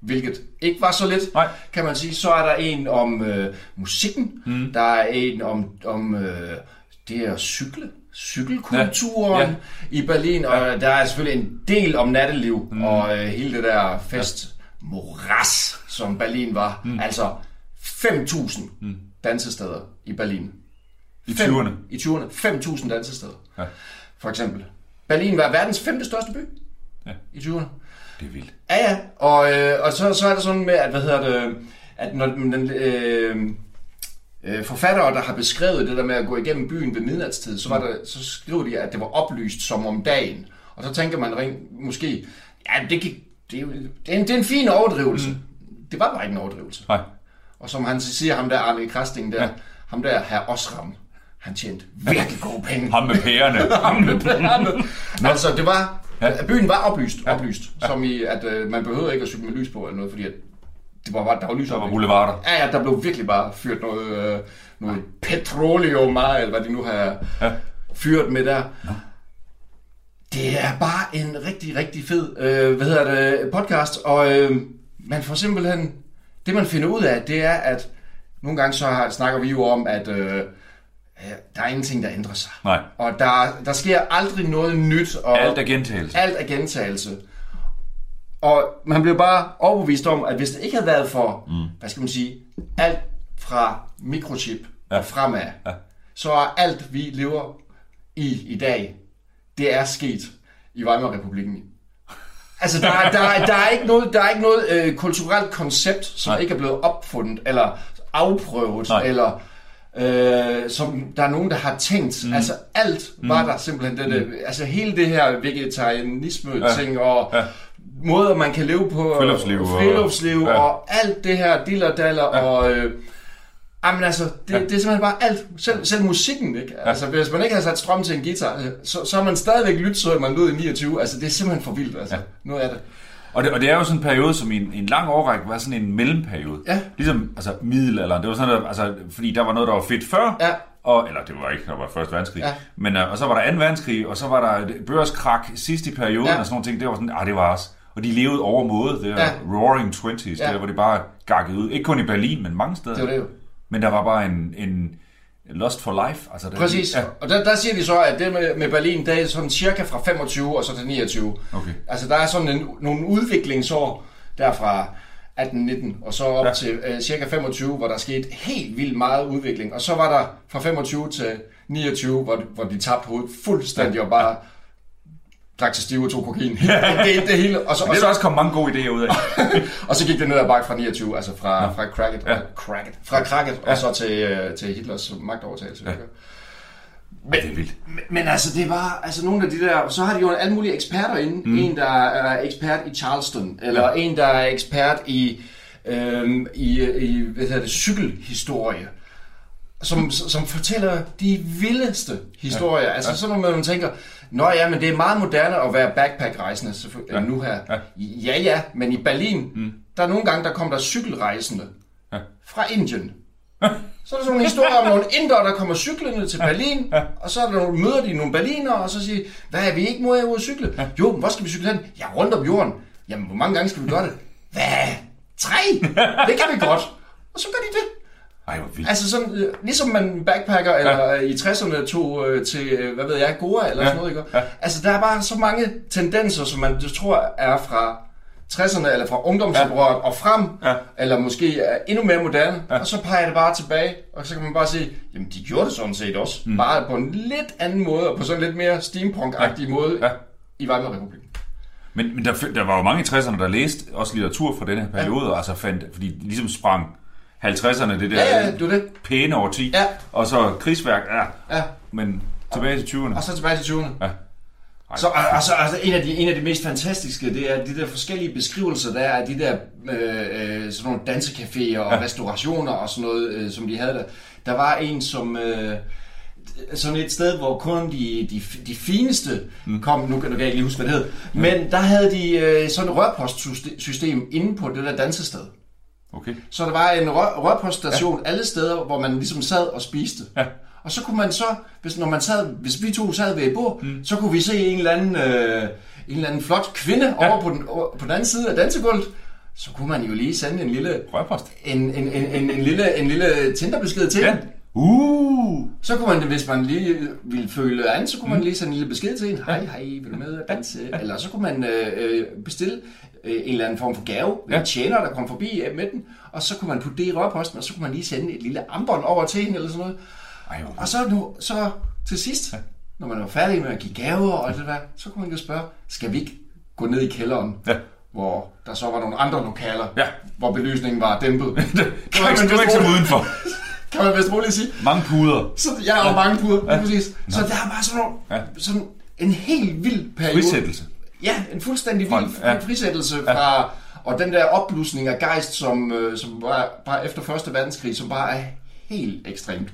Speaker 6: hvilket ikke var så lidt,
Speaker 5: Nej.
Speaker 6: kan man sige. Så er der en om øh, musikken, mm. der er en om, om øh, det at cykle,
Speaker 5: Ja.
Speaker 6: cykelkulturen, ja.
Speaker 5: Ja.
Speaker 6: Ja i Berlin, og der er selvfølgelig en del om natteliv mm. og øh, hele det der festmoras, som Berlin var. Mm. Altså 5.000 mm. dansesteder i Berlin.
Speaker 5: I
Speaker 6: Fem-
Speaker 5: 20'erne.
Speaker 6: I 20'erne. 5.000 dansesteder.
Speaker 5: Ja.
Speaker 6: For eksempel. Berlin var verdens femte største by
Speaker 5: Ja.
Speaker 6: i 20'erne.
Speaker 5: Det er vildt.
Speaker 6: Ja, ja. Og, øh, og så, så er det sådan med, at, hvad hedder det, at når den, den, øh, øh, *laughs* forfattere, der har beskrevet det der med at gå igennem byen ved midnatstid, så, var der, så skriver de, at det var oplyst som om dagen. Og så tænker man rent- måske, ja, det, kan, det, er jo- det, er en, det er en fin overdrivelse. Mm. Det var bare ikke en overdrivelse.
Speaker 5: Nej.
Speaker 6: Og som han siger, ham der Arne Krasting der, ja. ham der herr Osram, han tjente virkelig gode penge.
Speaker 5: Ham med pærerne.
Speaker 6: *laughs*
Speaker 5: Ham med *laughs*
Speaker 6: Nå. Altså, det var...
Speaker 5: Ja.
Speaker 6: Ja. Byen var oplyst, oplyst. Ja. Som i, at øh, man behøvede ikke at cykle med lys på eller noget, fordi at det var, bare- der var lys
Speaker 5: Der var
Speaker 6: op, ikke?
Speaker 5: boulevarder.
Speaker 6: Ja, ja, der blev virkelig bare fyret noget, øh, noget petroleum, meget, eller hvad de nu har
Speaker 5: Ja.
Speaker 6: ja. fyret med der. Det er bare en rigtig, rigtig fed øh, hvad hedder det, podcast, og øh, man får simpelthen... Det, man finder ud af, det er, at nogle gange så har, snakker vi jo om, at øh, øh, der er ingenting, der ændrer sig.
Speaker 5: Nej.
Speaker 6: Og der, der sker aldrig noget nyt. Og
Speaker 5: Alt er gentagelse.
Speaker 6: alt er gentagelse. Og man bliver bare overbevist om, at hvis det ikke havde været for, mm. hvad skal man sige, alt fra mikrochip
Speaker 5: Ja.
Speaker 6: ja. og fremad,
Speaker 5: Ja.
Speaker 6: ja. så er alt, vi lever i i dag, det er sket i Weimar-republiken. Altså, der, er- der, er- der er ikke noget, der er ikke noget øh, kulturelt koncept, som
Speaker 5: Nej.
Speaker 6: Nej. ikke er blevet opfundet, eller afprøvet,
Speaker 5: Nej.
Speaker 6: Nej. eller øh, som der er nogen, der har tænkt. Mm. Altså alt var der simpelthen det, det, altså hele det her vegetarianisme-ting ja. og
Speaker 5: Ja.
Speaker 6: ja. måder, man kan leve på.
Speaker 5: Friluftsliv og-
Speaker 6: og, friluftsliv
Speaker 5: Ja.
Speaker 6: ja. og alt det her dillerdaller ja. og... Øh, Jamen altså, det, ja. det er simpelthen bare alt. Selv, selv musikken, ikke? Ja. Altså, hvis man ikke har sat strøm til en guitar, øh, så, så er man stadigvæk lyttet, så man lød i 29. Altså, det er simpelthen for vildt, altså. Ja. Noget af det.
Speaker 5: Og det, og det er jo sådan en periode, som i en, en lang årrække var sådan en mellemperiode.
Speaker 6: Ja.
Speaker 5: Ligesom altså, middelalderen. Det var sådan, at, altså, fordi der var noget, der var fedt før.
Speaker 6: Ja.
Speaker 5: Og, eller det var ikke, der var første verdenskrig.
Speaker 6: Ja.
Speaker 5: Men, øh, og så var der anden verdenskrig, og så var der et børskrak sidst i perioden
Speaker 6: Ja.
Speaker 5: og sådan nogle ting. Det var sådan, ah, det var også. Og de levede over måde, det var
Speaker 6: Ja.
Speaker 5: roaring twenties, ja.
Speaker 6: Ja.
Speaker 5: der hvor det bare gakkede ud. Ikke kun i Berlin, men mange steder.
Speaker 6: Det var det jo.
Speaker 5: Men der var bare en, en Lost for Life. Altså, det,
Speaker 6: Præcis.
Speaker 5: Ja,
Speaker 6: Og der, der siger de så, at det med, med Berlin, det er sådan cirka fra 25 og så til 29.
Speaker 5: okay.
Speaker 6: Altså der er sådan en, nogle udviklingsår derfra 18-19 og så op
Speaker 5: Ja.
Speaker 6: ja. til øh, cirka 25, hvor der skete helt vildt meget udvikling. Og så var der fra 25 til 29, hvor, hvor de tabte hovedet fuldstændig og bare drak til stive og tog kokain. Ja. Det, det hele. Og så,
Speaker 5: Men
Speaker 6: og
Speaker 5: det er
Speaker 6: så,
Speaker 5: der også kommet mange gode idéer ud af.
Speaker 6: *laughs* og så gik det ned ad bakke fra 29, altså fra, ja. fra Cracket, ja. Cracket, fra Cracket ja. og så til, øh, til Hitlers magtovertagelse. Ja. Men,
Speaker 5: Det er vildt.
Speaker 6: men- men altså, det var altså nogle af de der... Så har de jo alle mulige eksperter inde. Mm. En, der er ekspert i Charleston, eller ja. en, der er ekspert i, øhm, i, i hvad hedder det, cykelhistorie. Som, som fortæller de vildeste historier. Ja. Altså sådan noget, man tænker, Nå ja, men det er meget moderne at være backpack-rejsende selvføl-
Speaker 5: Ja.
Speaker 6: nu her.
Speaker 5: Ja.
Speaker 6: Ja, ja, men i Berlin, mm. der er nogle gange, der kom der cykelrejsende
Speaker 5: Ja.
Speaker 6: fra Indien. Så er der sådan nogle historier om nogle indere, der kommer cyklende til Berlin, ja. og så er der nogle, møder de nogle berlinere, og så siger de, hvad er vi ikke mod at cykle? Ja. Jo, men hvor skal vi cykle hen? Ja, rundt om jorden. Jamen, hvor mange gange skal vi gøre det? Hvad? Tre? Det kan vi godt. Og så gør de det.
Speaker 5: Ej, hvor vildt.
Speaker 6: Altså sådan, øh, ligesom man backpacker eller ja. i 60'erne tog øh, til, øh, hvad ved jeg, Goa eller ja. sådan noget, ikke? Ja. Altså der er bare så mange tendenser, som man tror er fra 60'erne eller fra ungdomsoprøret ja. og frem, ja. eller måske er endnu mere moderne, ja. og så peger det bare tilbage, og så kan man bare sige, jamen de gjorde det sådan set også, mm. bare på en lidt anden måde, og på sådan en lidt mere steampunk-agtig ja. måde
Speaker 5: Ja.
Speaker 6: ja. i Weimar-republiken.
Speaker 5: Men, men der, der var jo mange i 60'erne, der læste også litteratur fra den her periode, ja. og altså fandt, fordi de ligesom sprang 50'erne, det der
Speaker 6: Ja, ja, det var det.
Speaker 5: pæne årti,
Speaker 6: Ja.
Speaker 5: og så krigsværk, ja.
Speaker 6: Ja.
Speaker 5: Men tilbage til 20'erne.
Speaker 6: Og så tilbage til 20'erne.
Speaker 5: Ej,
Speaker 6: Så og, og så, altså, en, af de, en af de mest fantastiske, det er de der forskellige beskrivelser, der er af de der øh, øh, sådan nogle dansecaféer og ja. restaurationer og sådan noget, øh, som de havde der. Der var en, som... Øh, sådan et sted, hvor kun de, de, de fineste mm. kom, nu, kan- nu kan jeg ikke lige huske, hvad det hed, men der havde de øh, sådan et rørpostsystem inde på det der dansested.
Speaker 5: okay.
Speaker 6: Så der var en rør, rørpoststation ja. alle steder, hvor man ligesom sad og spiste. Ja. Og så kunne man så, hvis, når man sad, hvis vi to sad ved et bord, mm. så kunne vi se en eller anden, øh, en eller anden flot kvinde ja. over på den, over, på den anden side af dansegulvet. Så kunne man jo lige sende en lille,
Speaker 5: Røgpost.
Speaker 6: en, en, en, en, en lille, en lille Tinder-besked til
Speaker 5: Ja.
Speaker 6: hende.
Speaker 5: Uh!
Speaker 6: Så kunne man, hvis man lige ville føle an, så kunne
Speaker 5: Mm.
Speaker 6: man lige sende en lille besked til en. Hej, hej, vil du med at danse? Eller så kunne man øh, øh, bestille øh, en eller anden form for gave ved
Speaker 5: Ja.
Speaker 6: en tjener, der kom forbi øh, med den. Og så kunne man putte det i rørposten, og så kunne man lige sende et lille armbånd over til hende eller sådan noget.
Speaker 5: Ej, hvor
Speaker 6: Og så, nu, så til sidst, når man var færdig med at give gaver og alt det der, så kunne man jo spørge, skal vi ikke gå ned i kælderen?
Speaker 5: Ja.
Speaker 6: Hvor der så var nogle andre lokaler,
Speaker 5: Ja. *laughs*
Speaker 6: hvor belysningen var dæmpet.
Speaker 5: Du er ikke, du er ikke så udenfor.
Speaker 6: kan man vist roligt *laughs* sige.
Speaker 5: Mange puder.
Speaker 6: Så jeg har jo mange puder, ja. præcis. Så der er bare sådan, nogle,
Speaker 5: Ja.
Speaker 6: ja. sådan en helt vild periode.
Speaker 5: Frisættelse.
Speaker 6: Ja, en fuldstændig vild
Speaker 5: Fra- ja.
Speaker 6: ja. frisættelse fra... Og den der opblusning af gejst, som, øh, som var bare efter Første Verdenskrig, som bare er helt ekstremt.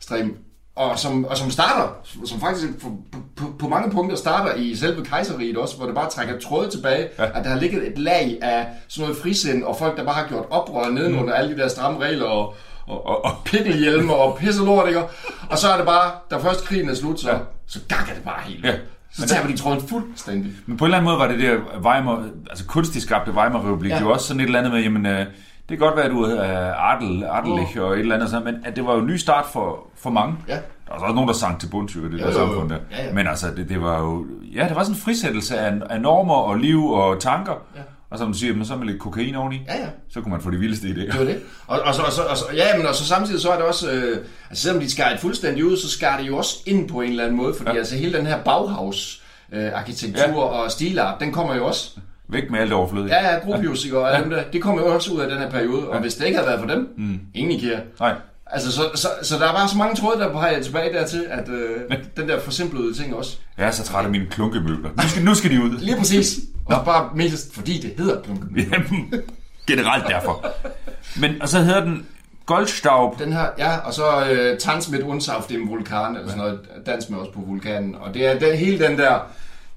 Speaker 6: ekstrem. Og som, og som starter, som faktisk på, på, på mange punkter starter i selve kejseriet også, hvor det bare trækker tråde tilbage, ja. at der har ligget et lag af sådan noget frisind, og folk, der bare har gjort oprør nedenunder mm. alle de der stramme regler, og, og, og, og pikkelhjelme og pisselort, ikke? Og så er det bare, da først krigen er slut, så, ja. så gakker det bare helt.
Speaker 5: Ja.
Speaker 6: Ja. Så tager man de tråden fuldstændig.
Speaker 5: Men på en eller anden måde var det der Weimar, altså kunstigt skabte Weimar-republik, ja.
Speaker 6: Ja.
Speaker 5: jo også sådan et eller andet med, jamen, øh, det kan godt være, at du er Adel, Adelich og et eller andet sådan, men at det var jo en ny start for, for mange.
Speaker 6: Ja.
Speaker 5: Der var så også nogen, der sang til bunds, jo, i det der
Speaker 6: jo, jo.
Speaker 5: samfund der.
Speaker 6: Ja, ja.
Speaker 5: Men altså, det, det, var jo, ja, det var sådan en frisættelse af, af normer og liv og tanker. Ja. Og som du siger, men så med lidt kokain oveni,
Speaker 6: Ja, ja.
Speaker 5: så kunne man få de vildeste idéer.
Speaker 6: Det var det. Og, og, så, og, så, og, så, ja, men og så samtidig så er det også, øh, altså selvom de skar det fuldstændig ud, så skar det jo også ind på en eller anden måde, fordi ja. altså hele den her Bauhaus, øh, arkitektur
Speaker 5: Ja.
Speaker 6: ja. og stilart, den kommer jo også.
Speaker 5: Væk med alt overflødigt.
Speaker 6: Ja, ja, Gropius ikke, og ja. dem der, det kommer jo også ud af den her periode, og hvis det ikke havde været for dem, mm. ingen IKEA.
Speaker 5: Nej.
Speaker 6: Altså, så, så, så der er bare så mange tråde, der peger tilbage dertil, at øh, den der forsimplede ting også.
Speaker 5: Jeg er så træt af mine klunkemøbler. Nu skal, nu skal de ud.
Speaker 6: Lige præcis. Og bare mest fordi det hedder klunken.
Speaker 5: *laughs* Jamen, generelt derfor. Men, og så hedder den Goldstaub.
Speaker 6: Den her, ja, og så øh, Tanz mit uns auf dem Vulkan, eller sådan noget, dans med os på vulkanen. Og det er den, hele den der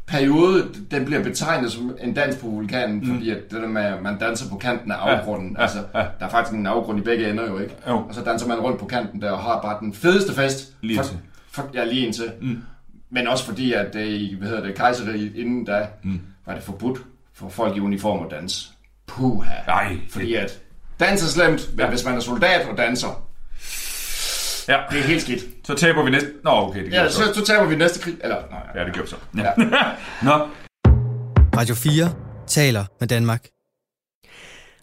Speaker 6: periode, den bliver betegnet som en dans på vulkanen, mm. fordi at det der med, at man danser på kanten af afgrunden, ja. altså, der er faktisk en afgrund i begge ender jo, ikke?
Speaker 5: Jo.
Speaker 6: Og så danser man rundt på kanten der, og har bare den fedeste fest.
Speaker 5: Lige
Speaker 6: for,
Speaker 5: indtil.
Speaker 6: for, Ja, lige indtil. Mm. Men også fordi, at det, i, hvad hedder det, kejseriet inden da, mm. var det forbudt for folk i uniform at danse. Puha.
Speaker 5: Nej,
Speaker 6: Fordi at dans er slemt, men hvis man er soldat og danser,
Speaker 5: Ja.
Speaker 6: Det er helt skidt.
Speaker 5: Så taber vi næste... Nå, okay, det gjorde
Speaker 6: Ja,
Speaker 5: vi
Speaker 6: så,
Speaker 5: så.
Speaker 6: så tager vi næste krig. Eller, nej.
Speaker 5: Ja, det gjorde vi så.
Speaker 6: Ja.
Speaker 5: *laughs* Nå,
Speaker 1: Radio 4 taler med Danmark.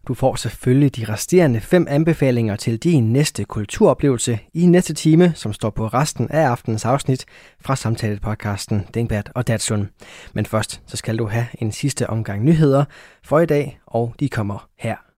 Speaker 2: Du får selvfølgelig de resterende fem anbefalinger til din næste kulturoplevelse i næste time, som står på resten af aftenens afsnit fra samtalepodcasten Dingbat og Datsun. Men først så skal du have en sidste omgang nyheder for i dag, og de kommer her.